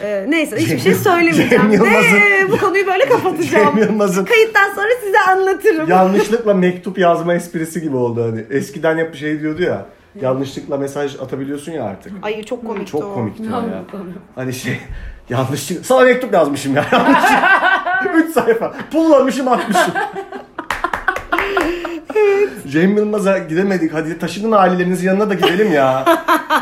Speaker 2: Ee, neyse hiçbir şey
Speaker 1: Cem- Cem
Speaker 2: söylemeyeceğim.
Speaker 1: Yılmaz'ın-
Speaker 2: Ve bu konuyu böyle kapatacağım.
Speaker 1: Cem Yılmaz'ın-
Speaker 2: Kayıttan sonra size anlatırım.
Speaker 1: yanlışlıkla mektup yazma esprisi gibi oldu hani. Eskiden hep bir şey diyordu ya. Yanlışlıkla mesaj atabiliyorsun ya artık.
Speaker 2: Ay çok komikti o.
Speaker 1: Çok komikti o ya.
Speaker 3: Anladım.
Speaker 1: Hani şey yanlışlıkla sana mektup yazmışım ya. Yanlışlıkla. 3 sayfa. Pullamışım atmışım. Cem Yılmaz'a gidemedik. Hadi taşının ailelerinizin yanına da gidelim ya.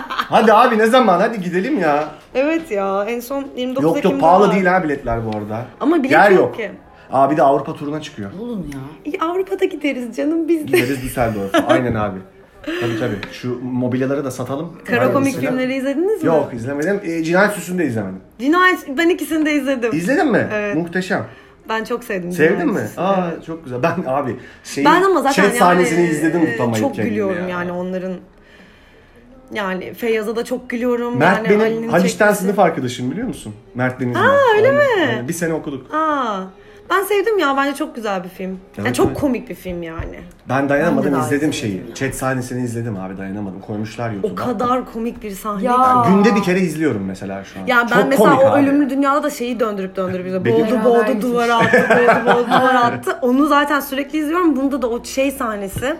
Speaker 1: Hadi abi ne zaman? Hadi gidelim ya.
Speaker 2: Evet ya en son 29
Speaker 1: Yok
Speaker 2: Ekim'de
Speaker 1: yok pahalı
Speaker 2: var.
Speaker 1: değil ha biletler bu arada.
Speaker 2: Ama bilet
Speaker 1: Yer
Speaker 2: yok
Speaker 1: yok.
Speaker 2: ki.
Speaker 1: Aa bir de Avrupa turuna çıkıyor.
Speaker 3: Bulun ya.
Speaker 2: İyi, Avrupa'da gideriz canım biz de.
Speaker 1: Gideriz Düsseldorf'a. Aynen abi. Tabii tabii. Şu mobilyaları da satalım.
Speaker 2: Karakomik
Speaker 1: Mesela-
Speaker 2: filmleri izlediniz mi?
Speaker 1: Yok izlemedim. Ee, cinayet süsünü de izlemedim.
Speaker 2: Cinayet ben ikisini de izledim.
Speaker 1: İzledin mi?
Speaker 2: Evet.
Speaker 1: Muhteşem.
Speaker 2: ben çok sevdim.
Speaker 1: Sevdin
Speaker 2: Cinayet
Speaker 1: mi?
Speaker 2: Süsü'nü,
Speaker 1: Aa
Speaker 2: evet.
Speaker 1: çok güzel. Ben abi şey,
Speaker 2: Ben ama zaten
Speaker 1: şey sahnesini
Speaker 2: yani,
Speaker 1: izledim
Speaker 2: e,
Speaker 1: tutamayıp
Speaker 2: Çok
Speaker 1: kendimi
Speaker 2: gülüyorum
Speaker 1: ya.
Speaker 2: yani onların. Yani Feyyaz'a da çok gülüyorum.
Speaker 1: Mert
Speaker 2: yani Ali'nin
Speaker 1: benim Haliç'ten
Speaker 2: çekmesi.
Speaker 1: sınıf arkadaşım biliyor musun? Mert Denizli. Aa öyle mi? bir sene okuduk.
Speaker 2: Aa, ben sevdim ya bence çok güzel bir film. yani
Speaker 1: Evet,
Speaker 2: çok
Speaker 1: evet.
Speaker 2: komik bir film yani.
Speaker 1: Ben dayanamadım
Speaker 3: Ben de daha
Speaker 1: izledim
Speaker 3: izlemedim
Speaker 1: şeyi.
Speaker 3: ya.
Speaker 1: Chat sahnesini izledim abi dayanamadım. Koymuşlar
Speaker 2: O
Speaker 1: YouTube'a.
Speaker 2: kadar komik bir sahne.
Speaker 3: Ya.
Speaker 2: ki.
Speaker 1: Yani günde bir kere izliyorum mesela şu an.
Speaker 2: Ya ben
Speaker 1: Çok
Speaker 2: mesela
Speaker 1: komik
Speaker 2: o
Speaker 1: abi.
Speaker 2: ölümlü dünyada da şeyi döndürüp döndürüp bize
Speaker 1: Benim-
Speaker 2: boğdu
Speaker 3: Beraber
Speaker 2: boğdu duvara attı boğdu boğdu duvara attı. Onu zaten sürekli izliyorum. Bunda da o şey sahnesi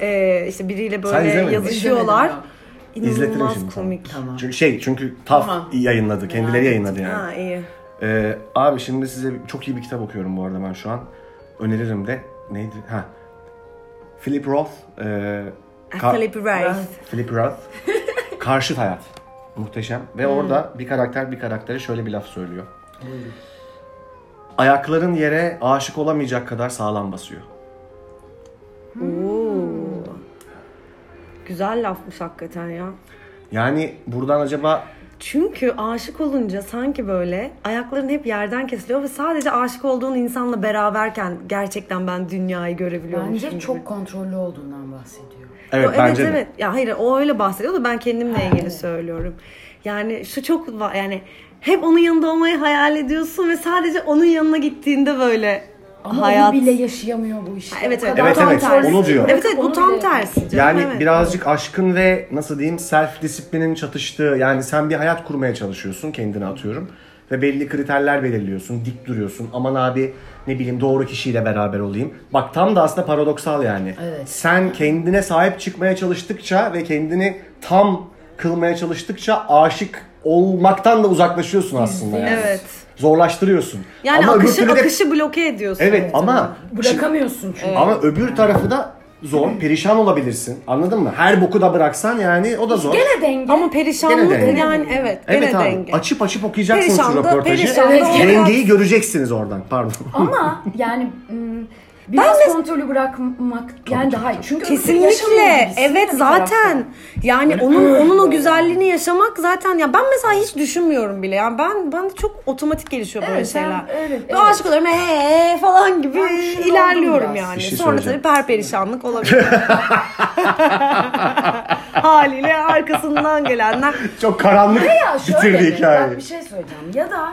Speaker 2: ee, işte biriyle
Speaker 1: Sen
Speaker 2: böyle
Speaker 1: izlemedin.
Speaker 2: yazışıyorlar.
Speaker 3: İzlemedim
Speaker 1: İzletirim
Speaker 2: İnanılmaz
Speaker 1: şimdi sana.
Speaker 2: komik.
Speaker 1: Çünkü şey çünkü TAF
Speaker 3: Tamam.
Speaker 1: yayınladı. Kendileri yayınladı yani.
Speaker 2: Ha iyi.
Speaker 1: Ee, abi şimdi size çok iyi bir kitap okuyorum bu arada ben şu an. Öneririm de. Neydi? Ha. Philip Roth. E, ka-
Speaker 2: Ah, Philip Rice.
Speaker 1: Philip Roth. Karşıt Hayat. Muhteşem. Ve
Speaker 2: Hmm.
Speaker 1: orada bir karakter bir karaktere şöyle bir laf söylüyor. Ayakların yere aşık olamayacak kadar sağlam basıyor.
Speaker 2: Oo. Güzel lafmış hakikaten ya.
Speaker 1: Yani buradan acaba
Speaker 2: Çünkü aşık olunca sanki böyle ayakların hep yerden kesiliyor ve sadece aşık olduğun insanla beraberken gerçekten ben dünyayı görebiliyorum.
Speaker 3: Bence çok kontrollü olduğundan bahsediyor.
Speaker 1: evet,
Speaker 2: evet
Speaker 1: bence de.
Speaker 2: evet. Ya hayır o öyle bahsediyor da ben kendimle ilgili
Speaker 3: evet.
Speaker 2: söylüyorum. Yani şu çok va- yani hep onun yanında olmayı hayal ediyorsun ve sadece onun yanına gittiğinde böyle
Speaker 3: Ama
Speaker 2: hayat
Speaker 3: onu bile yaşayamıyor bu işte.
Speaker 2: Evet,
Speaker 3: O
Speaker 2: evet.
Speaker 3: kadar
Speaker 1: Evet,
Speaker 3: tam
Speaker 1: evet,
Speaker 3: tersi.
Speaker 1: onu diyor.
Speaker 2: Evet evet bu
Speaker 3: Onu
Speaker 2: tam
Speaker 3: bile-
Speaker 2: tersi. canım,
Speaker 1: Yani
Speaker 2: evet.
Speaker 1: birazcık aşkın ve nasıl diyeyim self disiplinin çatıştığı yani sen bir hayat kurmaya çalışıyorsun kendine atıyorum ve belli kriterler belirliyorsun dik duruyorsun aman abi ne bileyim doğru kişiyle beraber olayım. Bak tam da aslında paradoksal yani.
Speaker 3: Evet.
Speaker 1: Sen kendine sahip çıkmaya çalıştıkça ve kendini tam kılmaya çalıştıkça aşık olmaktan da uzaklaşıyorsun aslında. Yani.
Speaker 2: Evet.
Speaker 1: Zorlaştırıyorsun.
Speaker 2: Yani
Speaker 1: öbür
Speaker 2: akışı
Speaker 1: türlü de-
Speaker 2: akışı bloke ediyorsun.
Speaker 1: Evet ama
Speaker 3: Bırakamıyorsun çünkü.
Speaker 1: ama öbür tarafı da zor. Perişan olabilirsin. Anladın mı? Her boku da bıraksan yani o da zor.
Speaker 3: Gene denge.
Speaker 2: Ama perişanlık
Speaker 1: Gene denge.
Speaker 2: yani evet,
Speaker 1: Evet
Speaker 2: gene
Speaker 1: abi.
Speaker 2: denge.
Speaker 1: Açıp açıp okuyacaksınız
Speaker 2: Perişan
Speaker 1: şu
Speaker 2: da-
Speaker 1: röportajı.
Speaker 2: perişan da
Speaker 1: Evet.
Speaker 2: olacak.
Speaker 1: Dengeyi göreceksiniz oradan. Pardon.
Speaker 3: Ama yani mm, biraz kontrolü bırakmak yani daha iyi. Çünkü öbür türlü yaşamıyor
Speaker 2: Kesinlikle.
Speaker 3: gibisin
Speaker 2: Evet
Speaker 3: bir tarafta.
Speaker 2: zaten. Yani onun onun o güzelliğini yaşamak zaten ya ben mesela hiç düşünmüyorum bile. Yani ben bana çok otomatik gelişiyor böyle
Speaker 3: Evet, ben
Speaker 2: şeyler.
Speaker 3: öyle,
Speaker 2: Ve
Speaker 3: evet.
Speaker 2: aşık oluyorum he he ee," falan gibi
Speaker 3: Ben şunu oldum
Speaker 2: ilerliyorum
Speaker 3: biraz.
Speaker 2: yani.
Speaker 1: Bir şey
Speaker 2: Sonra tabii
Speaker 1: söyleyeceğim.
Speaker 2: perperişanlık olabilir. Haliyle arkasından gelenler.
Speaker 1: Çok karanlık
Speaker 3: Ya şöyle
Speaker 1: bitirdi
Speaker 3: de,
Speaker 1: hikayeyi.
Speaker 3: bak bir şey söyleyeceğim. Ya da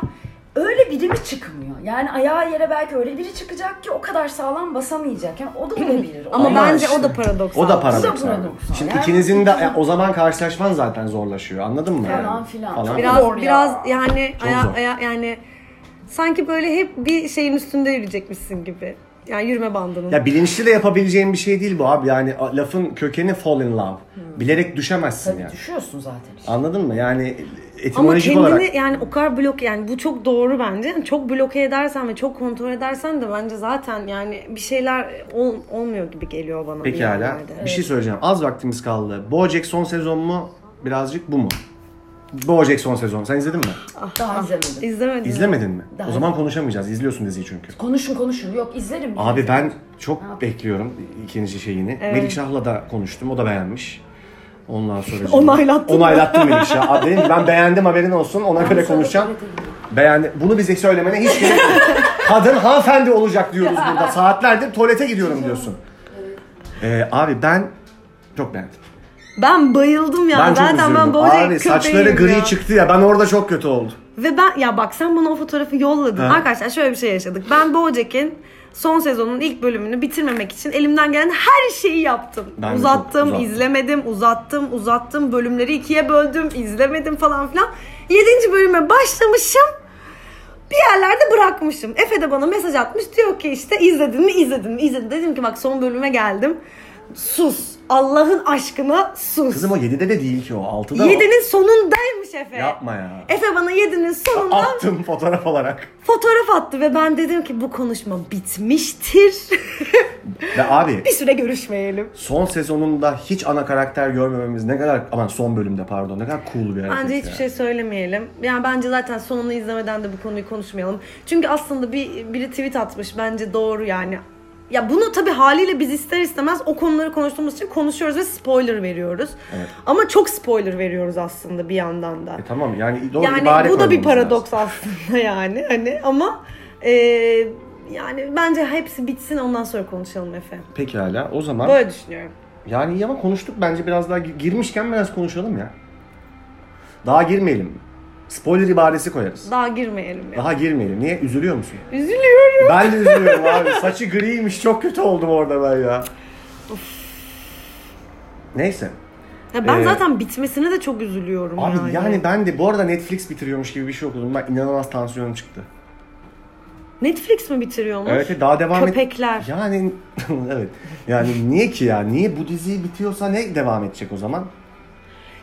Speaker 3: öyle biri mi çıkmıyor? Yani ayağı yere belki öyle biri çıkacak ki o kadar sağlam basamayacak. Yani o da olabilir. O
Speaker 2: Ama,
Speaker 3: da-
Speaker 2: bence
Speaker 1: işte,
Speaker 2: o da paradoksal.
Speaker 1: O da paradoksal.
Speaker 3: O da paradoksal.
Speaker 1: Şimdi
Speaker 3: Yani
Speaker 1: ikinizin de ya o zaman karşılaşman zaten zorlaşıyor. Anladın mı?
Speaker 3: Falan
Speaker 1: yani?
Speaker 3: filan.
Speaker 2: Biraz
Speaker 3: Zor ya.
Speaker 2: biraz yani
Speaker 1: Çok
Speaker 2: aya-
Speaker 1: zor.
Speaker 2: aya- yani sanki böyle hep bir şeyin üstünde yürüyecekmişsin gibi. Yani yürüme bandının.
Speaker 1: Ya bilinçli de yapabileceğin bir şey değil bu abi. Yani a- lafın kökeni fall in love. Bilerek düşemezsin
Speaker 3: Tabii
Speaker 1: yani.
Speaker 3: düşüyorsun zaten. işte.
Speaker 1: Anladın mı? Yani
Speaker 2: Ama
Speaker 1: etimolojik
Speaker 2: kendini
Speaker 1: olarak.
Speaker 2: yani o kadar blok yani bu çok doğru bence. Yani çok bloke edersen ve çok kontrol edersen de bence zaten yani bir şeyler ol- olmuyor gibi geliyor bana. bir
Speaker 1: Peki hala.
Speaker 2: yerlerde.
Speaker 1: Bir şey söyleyeceğim. Az vaktimiz kaldı. Bojack son sezon mu? Birazcık bu mu? Bojack son sezon. Sen izledin mi?
Speaker 2: Ah,
Speaker 3: Daha izlemedim.
Speaker 2: İzlemedim.
Speaker 1: İzlemedin mi?
Speaker 3: Daha
Speaker 1: o zaman konuşamayacağız. İzliyorsun diziyi çünkü.
Speaker 3: Konuşun konuşun. Yok izlerim.
Speaker 1: Abi ben çok bekliyorum ikinci şeyini. Melikşah'la da konuştum. O da beğenmiş. Ondan sonra...
Speaker 2: Onaylattın mı?
Speaker 1: Onaylattım Melikşah. Abi dedim ki ben beğendim haberin olsun. Ona göre
Speaker 3: sonra
Speaker 1: konuşacağım.
Speaker 3: tuvalete gidiyorum.
Speaker 1: Beğendi. Bunu bize söylemene hiç gerek yok. Kadın hanımefendi olacak diyoruz burada. Saatlerdir tuvalete gidiyorum diyorsun. Ee, abi ben çok beğendim.
Speaker 2: Ben bayıldım ya.
Speaker 1: ben çok
Speaker 2: Zaten
Speaker 1: üzüldüm.
Speaker 2: ben Bojack
Speaker 1: Abi saçları
Speaker 2: köpeğim
Speaker 1: gri
Speaker 2: ya.
Speaker 1: çıktı ya. Ben orada çok kötü oldum.
Speaker 2: Ve ben ya bak sen bana o fotoğrafı yolladın.
Speaker 1: Ha.
Speaker 2: Arkadaşlar şöyle bir şey yaşadık. Ben Bojack'in son sezonun ilk bölümünü bitirmemek için elimden gelen her şeyi yaptım.
Speaker 1: Ben de
Speaker 2: uzattım,
Speaker 1: çok uzattım.
Speaker 2: izlemedim, uzattım, uzattım. Bölümleri ikiye böldüm, izlemedim falan filan. Yedinci bölüme başlamışım. Bir yerlerde bırakmışım. Efe de bana mesaj atmış. Diyor ki işte izledin mi izledin mi izledin. Dedim ki bak son bölüme geldim. Sus. Allah'ın aşkına sus.
Speaker 1: Kızım o 7'de de değil ki o. 6'da o.
Speaker 2: Yedinin sonundaymış Efe.
Speaker 1: Yapma ya.
Speaker 2: Efe bana yedinin sonunda
Speaker 1: Attım fotoğraf olarak.
Speaker 2: fotoğraf attı ve ben dedim ki bu konuşma bitmiştir.
Speaker 1: Ve abi
Speaker 2: bir süre görüşmeyelim.
Speaker 1: Son sezonunda hiç ana karakter görmememiz ne kadar aman son bölümde pardon ne kadar cool bir hareket.
Speaker 2: Bence hiçbir
Speaker 1: ya.
Speaker 2: şey söylemeyelim. Yani bence zaten sonunu izlemeden de bu konuyu konuşmayalım. Çünkü aslında bir biri tweet atmış bence doğru yani. Ya bunu tabii haliyle biz ister istemez o konuları konuştuğumuz için konuşuyoruz ve spoiler veriyoruz.
Speaker 1: Evet.
Speaker 2: Ama çok spoiler veriyoruz aslında bir yandan da.
Speaker 1: E tamam yani doğru
Speaker 2: Yani
Speaker 1: ibare
Speaker 2: bu da
Speaker 1: koymamız
Speaker 2: bir paradoks
Speaker 1: lazım.
Speaker 2: aslında yani hani ama e, yani bence hepsi bitsin ondan sonra konuşalım Efe.
Speaker 1: Pekala o zaman
Speaker 2: Böyle düşünüyorum.
Speaker 1: yani iyi ama konuştuk bence biraz daha gi- girmişken biraz konuşalım ya. Daha girmeyelim. Spoiler ibaresi koyarız.
Speaker 2: Daha girmeyelim ya.
Speaker 1: Daha girmeyelim. Niye? Üzülüyor musun?
Speaker 2: Üzülüyorum.
Speaker 1: ben de üzülüyorum abi. Saçı griymiş. Çok kötü oldum orada ben ya. Neyse.
Speaker 2: Ya ben
Speaker 1: Ee,
Speaker 2: zaten bitmesine de çok üzülüyorum
Speaker 1: Abi
Speaker 2: yani.
Speaker 1: yani ben de bu arada Netflix bitiriyormuş gibi bir şey okudum. Bak inanılmaz tansiyonum çıktı.
Speaker 2: Netflix mi bitiriyormuş?
Speaker 1: Evet daha devam et-
Speaker 2: Köpekler.
Speaker 1: Yani evet. Yani niye ki ya? Niye bu dizi bitiyorsa ne devam edecek o zaman?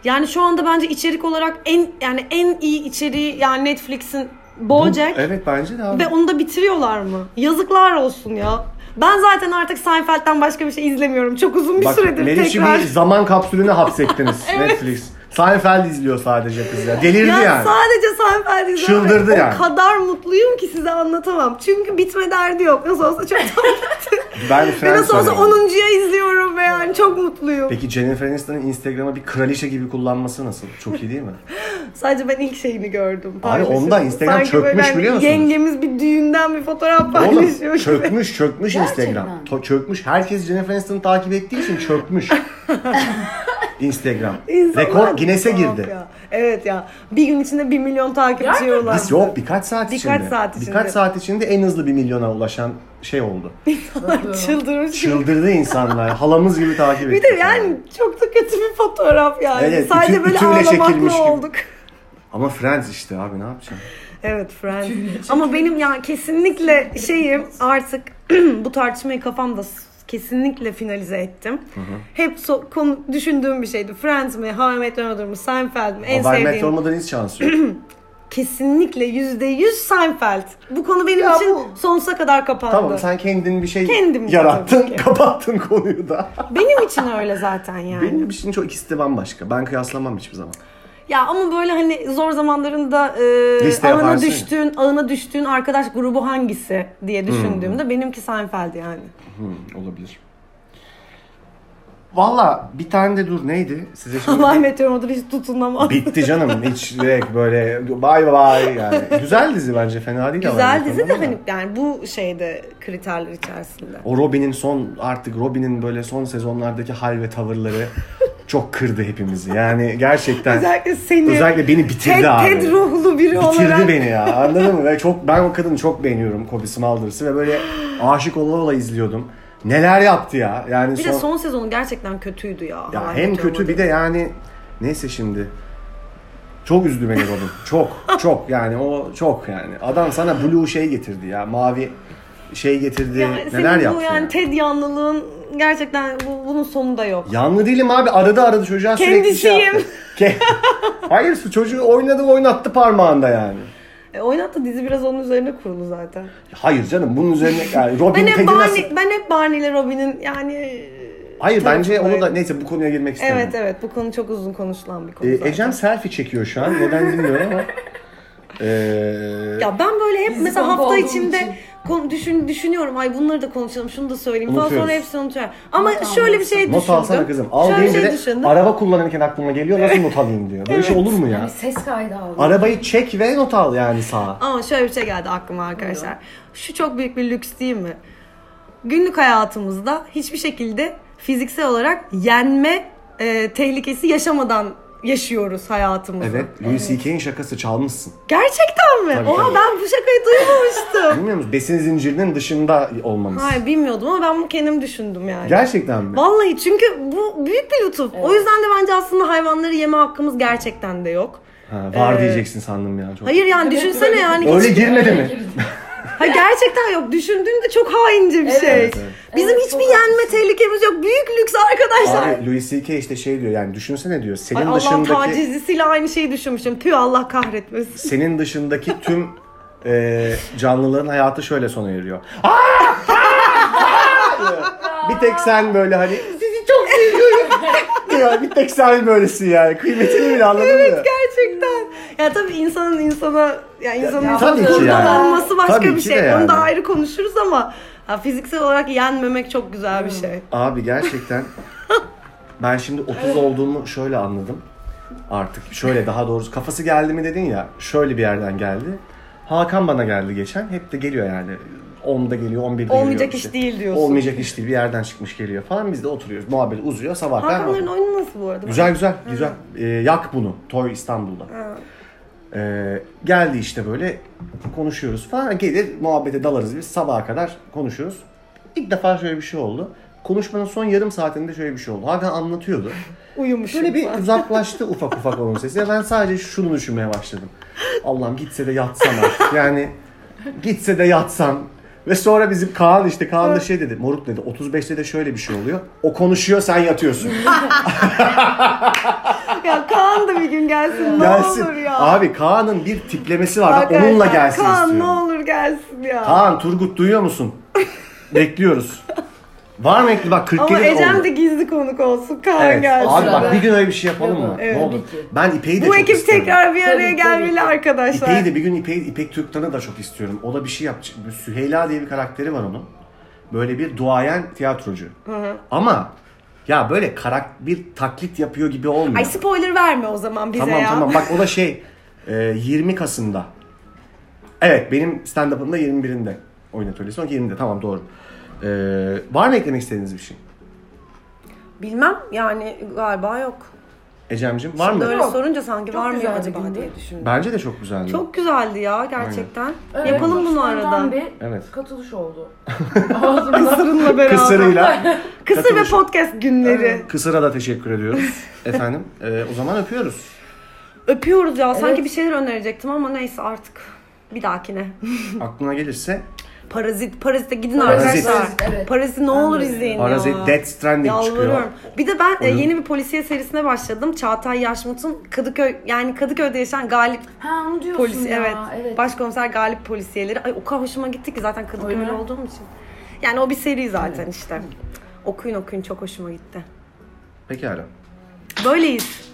Speaker 2: Yani şu anda bence içerik olarak en yani en iyi içeriği yani Netflix'in
Speaker 1: Bu-
Speaker 2: Bojack
Speaker 1: Evet bence de abi.
Speaker 2: ve onu da bitiriyorlar mı? Yazıklar olsun ya. Ben zaten artık Seinfeld'den başka bir şey izlemiyorum. Çok uzun bir
Speaker 1: Bak
Speaker 2: süredir
Speaker 1: Meriç'i
Speaker 2: tekrar.
Speaker 1: bir zaman kapsülüne hapsettiniz Netflix. Seinfeld izliyor sadece kız ya. Delirdi
Speaker 2: Ya
Speaker 1: yani.
Speaker 2: sadece Seinfeld izlemek
Speaker 1: Çıldırdı
Speaker 2: o
Speaker 1: yani.
Speaker 2: kadar mutluyum ki size anlatamam. Çünkü bitme derdi yok. Nasıl olsa çok
Speaker 1: Ben
Speaker 2: Ve
Speaker 1: Friends
Speaker 2: nasıl olsa
Speaker 1: arıyorum.
Speaker 2: 10.ya izliyorum ve yani çok mutluyum.
Speaker 1: Peki Jennifer Aniston'ın Instagram'a bir kraliçe gibi kullanması nasıl? Çok iyi değil mi?
Speaker 2: Sadece ben ilk şeyini gördüm. paylaşımı.
Speaker 1: onda Instagram çökmüş
Speaker 2: böyle hani
Speaker 1: biliyor musunuz?
Speaker 2: Yengemiz bir düğünden bir fotoğraf paylaşıyor
Speaker 1: Oğlum
Speaker 2: gibi.
Speaker 1: çökmüş çökmüş
Speaker 3: Gerçekten.
Speaker 1: Instagram. To- çökmüş. Herkes Jennifer Aniston'u takip ettiği için çökmüş. Instagram.
Speaker 2: İnsanlar
Speaker 1: Rekor Guinness'e
Speaker 2: tuhaf
Speaker 1: girdi.
Speaker 2: ya. Evet ya. Bir gün içinde 1 milyon takipçi
Speaker 3: Gerçekten.
Speaker 2: yolladı.
Speaker 1: Biz yok birkaç saat
Speaker 2: Birkaç
Speaker 1: içinde.
Speaker 2: saat içinde.
Speaker 1: Birkaç saat içinde en hızlı bir milyona ulaşan şey oldu.
Speaker 2: Çıldırmış.
Speaker 1: Çıldırdı insanlar. Halamız gibi takip
Speaker 2: bir
Speaker 1: etti.
Speaker 2: de yani çok da kötü bir fotoğraf yani.
Speaker 1: Evet, bütün-
Speaker 2: Sadece böyle
Speaker 1: bütünle çekilmiş gibi.
Speaker 2: ağlamakla olduk.
Speaker 1: Ama Friends işte abi ne yapacağım?
Speaker 2: Evet Friends. Ama benim ya kesinlikle şeyim artık bu tartışmayı kafamda s- kesinlikle finalize ettim. Hep so- konu, düşündüğüm bir şeydi. Friends mi, How I Met Your Mother mı, Seinfeld mi, en
Speaker 1: Haber
Speaker 2: sevdiğim.
Speaker 1: metro olmadan hiç şansı yok.
Speaker 2: kesinlikle %100 Seinfeld. Bu konu benim
Speaker 1: Ya
Speaker 2: için
Speaker 1: bu-
Speaker 2: sonsuza kadar kapandı.
Speaker 1: Tamam sen kendin bir şey
Speaker 2: Kendim
Speaker 1: yarattın,
Speaker 2: tabii ki.
Speaker 1: kapattın konuyu da.
Speaker 2: Benim için öyle zaten yani.
Speaker 1: Benim için çok ikisi de bambaşka. Ben kıyaslamam hiçbir zaman.
Speaker 2: Ya ama böyle hani zor zamanlarında
Speaker 1: Liste
Speaker 2: e, ağına
Speaker 1: yaparsın ya.
Speaker 2: düştüğün, ağına düştüğün arkadaş grubu hangisi diye düşündüğümde benimki Seinfeld yani.
Speaker 1: Hmm, olabilir. Valla bir tane de dur neydi? Size şimdi
Speaker 2: Allah Meteor Modur hiç tutunamam.
Speaker 1: bitti canım. Hiç direkt böyle bay bay yani. Güzel dizi bence fena değil ama
Speaker 2: Güzel
Speaker 1: bu
Speaker 2: dizi de
Speaker 1: konuda
Speaker 2: hani yani bu şeyde kriterler içerisinde.
Speaker 1: O Robin'in son artık Robin'in böyle son sezonlardaki hal ve tavırları çok kırdı hepimizi. Yani gerçekten
Speaker 2: Özellikle seni
Speaker 1: özellikle beni bitirdi
Speaker 2: Ted,
Speaker 1: abi.
Speaker 2: Ted ruhlu biri
Speaker 1: Bitirdi
Speaker 2: olarak
Speaker 1: beni ya anladın mı? Ve çok ben o kadını çok beğeniyorum Kobe Smulders ve böyle aşık ola ola izliyordum. Neler yaptı ya? Yani
Speaker 2: Bir
Speaker 1: son,
Speaker 2: de son sezonu gerçekten kötüydü ya.
Speaker 1: ya
Speaker 2: Hawaii
Speaker 1: hem
Speaker 2: Meteor
Speaker 1: kötü bir
Speaker 2: Mother.
Speaker 1: de yani neyse şimdi çok üzdü beni Robin. Çok çok yani o çok yani. Adam sana blue şey getirdi ya. Mavi şey getirdi.
Speaker 2: Ya
Speaker 1: neler
Speaker 2: senin
Speaker 1: yaptı?
Speaker 2: bu yani
Speaker 1: ya?
Speaker 2: Ted yanlılığın gerçekten bu- bunun sonu da yok.
Speaker 1: Yanlı değilim abi. Arada arada çocuğa sürekli şey
Speaker 2: Kendisiyim.
Speaker 1: yaptı. Ke- Hayır su çocuğu oynadı oynattı parmağında yani.
Speaker 2: E, oynattı dizi biraz onun üzerine kurulu zaten.
Speaker 1: Hayır canım bunun üzerine yani Robin
Speaker 2: Ben hep,
Speaker 1: Ted'i nasıl...
Speaker 2: Barney, ben hep Barney'le Robin'in yani... e,
Speaker 1: Hayır bence onu da
Speaker 2: tarafındayım.
Speaker 1: neyse bu konuya girmek istemiyorum.
Speaker 2: Evet evet bu konu çok uzun konuşulan bir konu
Speaker 1: Ee,
Speaker 2: zaten.
Speaker 1: Ecem selfie çekiyor şu an. Neden bilmiyorum ama. Ee,
Speaker 2: Ya ben böyle hep
Speaker 3: Dizi
Speaker 2: mesela
Speaker 3: bomba
Speaker 2: hafta
Speaker 3: olduğum
Speaker 2: içinde
Speaker 3: için.
Speaker 2: kon- düşün, düşünüyorum. Ay bunları da konuşalım, şunu da söyleyeyim falan sonra
Speaker 1: Unutuyoruz.
Speaker 2: hepsini unutuyorum. Ama
Speaker 3: Not al,
Speaker 2: şöyle bir
Speaker 3: not
Speaker 2: şey düşündüm.
Speaker 1: not alsana kızım. Al
Speaker 2: şöyle bir
Speaker 1: deyince
Speaker 2: şey
Speaker 1: de
Speaker 2: düşündüm.
Speaker 1: araba kullanırken aklıma geliyor. Nasıl not alayım diyor. Böyle şey olur mu ya?
Speaker 3: Yani ses kaydı aldım.
Speaker 1: Arabayı çek ve not al yani sağa.
Speaker 2: Ama şöyle bir şey geldi aklıma arkadaşlar. Şu çok büyük bir lüks değil mi? Günlük hayatımızda hiçbir şekilde fiziksel olarak yenme e, tehlikesi yaşamadan yaşıyoruz hayatımızı.
Speaker 1: Evet. Louis C.K.'in şakası çalmışsın.
Speaker 2: Gerçekten mi?
Speaker 1: Tabii,
Speaker 2: Oha
Speaker 1: tabii.
Speaker 2: ben bu şakayı duymamıştım.
Speaker 1: Bilmiyor musun? Besin zincirinin dışında olmamız.
Speaker 2: Hayır bilmiyordum ama ben bunu kendim düşündüm yani.
Speaker 1: Gerçekten mi?
Speaker 2: Vallahi çünkü bu büyük bir lütuf. O yüzden de bence aslında hayvanları yeme hakkımız gerçekten de yok.
Speaker 1: Ha, var
Speaker 2: Ee,
Speaker 1: diyeceksin sandım ya. Çok.
Speaker 2: Hayır yani düşünsene yani. hiç-
Speaker 1: Öyle girmedi mi?
Speaker 2: Ha gerçekten yok. Düşündüğünde çok haince bir şey.
Speaker 1: evet, evet.
Speaker 2: Bizim
Speaker 3: Evet,
Speaker 2: hiçbir
Speaker 3: çok
Speaker 2: yenme tehlikemiz yok. Büyük lüks arkadaşlar.
Speaker 1: Abi Louis C.K. işte şey diyor yani düşünsene diyor
Speaker 2: Ay,
Speaker 1: senin
Speaker 2: Allah'ın
Speaker 1: dışındaki
Speaker 2: tacizlisiyle aynı şeyi düşünmüşüm. Tüh Allah kahretmesin.
Speaker 1: senin dışındaki tüm e, canlıların hayatı şöyle sona eriyor. Aa! Aa! bir tek sen böyle hani sizi çok seviyorum diyor. Bir tek sen böylesin yani. Kıymetini bile anladın mı?
Speaker 2: Gerçekten. Ya tabii insanın insana ya insanın
Speaker 1: ya
Speaker 2: insana
Speaker 1: tabii ki yani.
Speaker 2: olması başka
Speaker 1: Tabii
Speaker 2: bir
Speaker 1: ki
Speaker 2: şey.
Speaker 1: de yani.
Speaker 2: Onu da ayrı konuşuruz ama ha, fiziksel olarak yenmemek çok güzel bir şey.
Speaker 1: Abi gerçekten ben şimdi 30 olduğumu şöyle anladım. Artık şöyle daha doğrusu kafası geldi mi dedin ya şöyle bir yerden geldi. Hakan bana geldi geçen. Hep de geliyor yani. 10'da geliyor, 11'de geliyor.
Speaker 2: Olmayacak
Speaker 1: işte.
Speaker 2: iş değil diyorsun.
Speaker 1: Olmayacak iş değil. Bir yerden çıkmış geliyor falan. Biz de oturuyoruz. Muhabbet uzuyor. Sabah
Speaker 2: Hakanların oyunu nasıl bu arada?
Speaker 1: Güzel güzel güzel. Ee, yak bunu. Toy İstanbul'da. Ee, geldi işte böyle konuşuyoruz falan. Gelir muhabbete dalarız biz sabaha kadar konuşuyoruz. İlk defa şöyle bir şey oldu. Konuşmanın son yarım saatinde şöyle bir şey oldu. Hakan anlatıyordu.
Speaker 2: Uyumuşum.
Speaker 1: Şöyle bir
Speaker 2: falan.
Speaker 1: uzaklaştı ufak ufak onun sesi. Ya Ben sadece şunu düşünmeye başladım. Allah'ım gitse de yatsam artık. Yani gitse de yatsam. Ve sonra bizim Kaan işte Kaan da şey dedi. Moruk dedi 35'te de şöyle bir şey oluyor. O konuşuyor sen yatıyorsun.
Speaker 2: Ya Kaan da bir gün gelsin ne
Speaker 1: gelsin.
Speaker 2: olur ya.
Speaker 1: Abi Kaan'ın bir tiplemesi var. Ben
Speaker 2: Arkadaşlar,
Speaker 1: onunla gelsin
Speaker 2: Kaan
Speaker 1: istiyorum.
Speaker 2: ne olur gelsin ya.
Speaker 1: Kaan Turgut duyuyor musun? Bekliyoruz. Var mı ekli bak 40
Speaker 2: Ama
Speaker 1: kere
Speaker 2: Ecem
Speaker 1: oldu.
Speaker 2: de gizli konuk olsun Kaan
Speaker 1: Evet.
Speaker 2: gelsin.
Speaker 1: Abi bak
Speaker 3: Ben-
Speaker 1: bir gün öyle bir şey yapalım mı?
Speaker 3: Evet.
Speaker 1: ne olur.
Speaker 3: Tabii ki.
Speaker 1: Ben İpek'i de
Speaker 2: Bu
Speaker 1: çok
Speaker 2: ekip
Speaker 1: isterim.
Speaker 2: tekrar bir araya
Speaker 3: Tabii,
Speaker 2: gelmeli
Speaker 3: tabii.
Speaker 2: arkadaşlar.
Speaker 1: İpek'i de bir gün İpek, İpek Türktan'ı da çok istiyorum. O da bir şey yapacak. Bu Süheyla diye bir karakteri var onun. Böyle bir duayen tiyatrocu. Ama ya böyle karakter bir taklit yapıyor gibi olmuyor.
Speaker 2: Ay spoiler verme o zaman bize
Speaker 1: Tamam
Speaker 2: ya.
Speaker 1: tamam bak o da şey e, 20 Kasım'da. Evet benim stand-up'ımda 21'inde oynatıyor. Son 20'de tamam doğru. E, var mı eklemek istediğiniz bir şey?
Speaker 2: Bilmem yani galiba yok.
Speaker 1: Ecem'cim var mı?
Speaker 2: Böyle
Speaker 3: Yok.
Speaker 2: sorunca sanki
Speaker 3: Çok
Speaker 2: var mı
Speaker 3: güzel
Speaker 2: ya
Speaker 3: bir
Speaker 2: acaba
Speaker 3: gündü.
Speaker 2: diye düşündüm.
Speaker 1: Bence de çok güzeldi.
Speaker 2: Çok güzeldi ya gerçekten. Yapalım bunu arada.
Speaker 3: Spontan bir
Speaker 1: Evet.
Speaker 3: katılış oldı. Ağzımda.
Speaker 2: Kısırınla beraber.
Speaker 1: Kısırıyla.
Speaker 2: Kısır ve
Speaker 1: Katılış.
Speaker 2: podcast günleri.
Speaker 1: Kısır'a da teşekkür ediyoruz. Efendim e, o zaman öpüyoruz.
Speaker 2: Öpüyoruz ya. Sanki
Speaker 3: Evet.
Speaker 2: bir şeyler önerecektim ama neyse artık. Bir dahakine.
Speaker 1: Aklına gelirse
Speaker 2: Parazit, Parazit'e gidin
Speaker 3: Parazit.
Speaker 2: arkadaşlar.
Speaker 3: Parazit, evet.
Speaker 2: Parazit'i ne olur izleyin
Speaker 1: Parazit,
Speaker 2: ya.
Speaker 1: Death Stranding çıkıyor.
Speaker 2: Yalvarıyorum. Bir de ben e,
Speaker 1: Oyun.
Speaker 2: yeni bir polisiye serisine başladım. Çağatay Yaşmut'un Kadıköy yani Kadıköy'de yaşayan Galip
Speaker 3: Ha onu diyorsun
Speaker 2: polisi
Speaker 3: ya.
Speaker 2: evet.
Speaker 3: evet.
Speaker 2: Başkomiser Galip polisiyeleri. Ay o kadar hoşuma gitti ki zaten Kadıköy'lü
Speaker 3: Oyna.
Speaker 2: olduğum için. Yani o bir seri zaten işte. Okuyun okuyun çok hoşuma gitti.
Speaker 1: Pekala.
Speaker 2: Böyleyiz.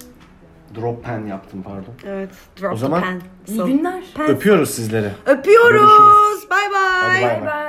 Speaker 1: Drop pen yaptım pardon.
Speaker 2: Evet. Drop
Speaker 1: O zaman
Speaker 2: the pen.
Speaker 3: İyi
Speaker 2: So-
Speaker 3: günler.
Speaker 2: Pen.
Speaker 1: Öpüyoruz sizleri.
Speaker 2: Öpüyoruz.
Speaker 1: Görüşürüz.
Speaker 2: Bay
Speaker 1: Hadi
Speaker 2: bay.
Speaker 1: bay.
Speaker 3: Bay bay.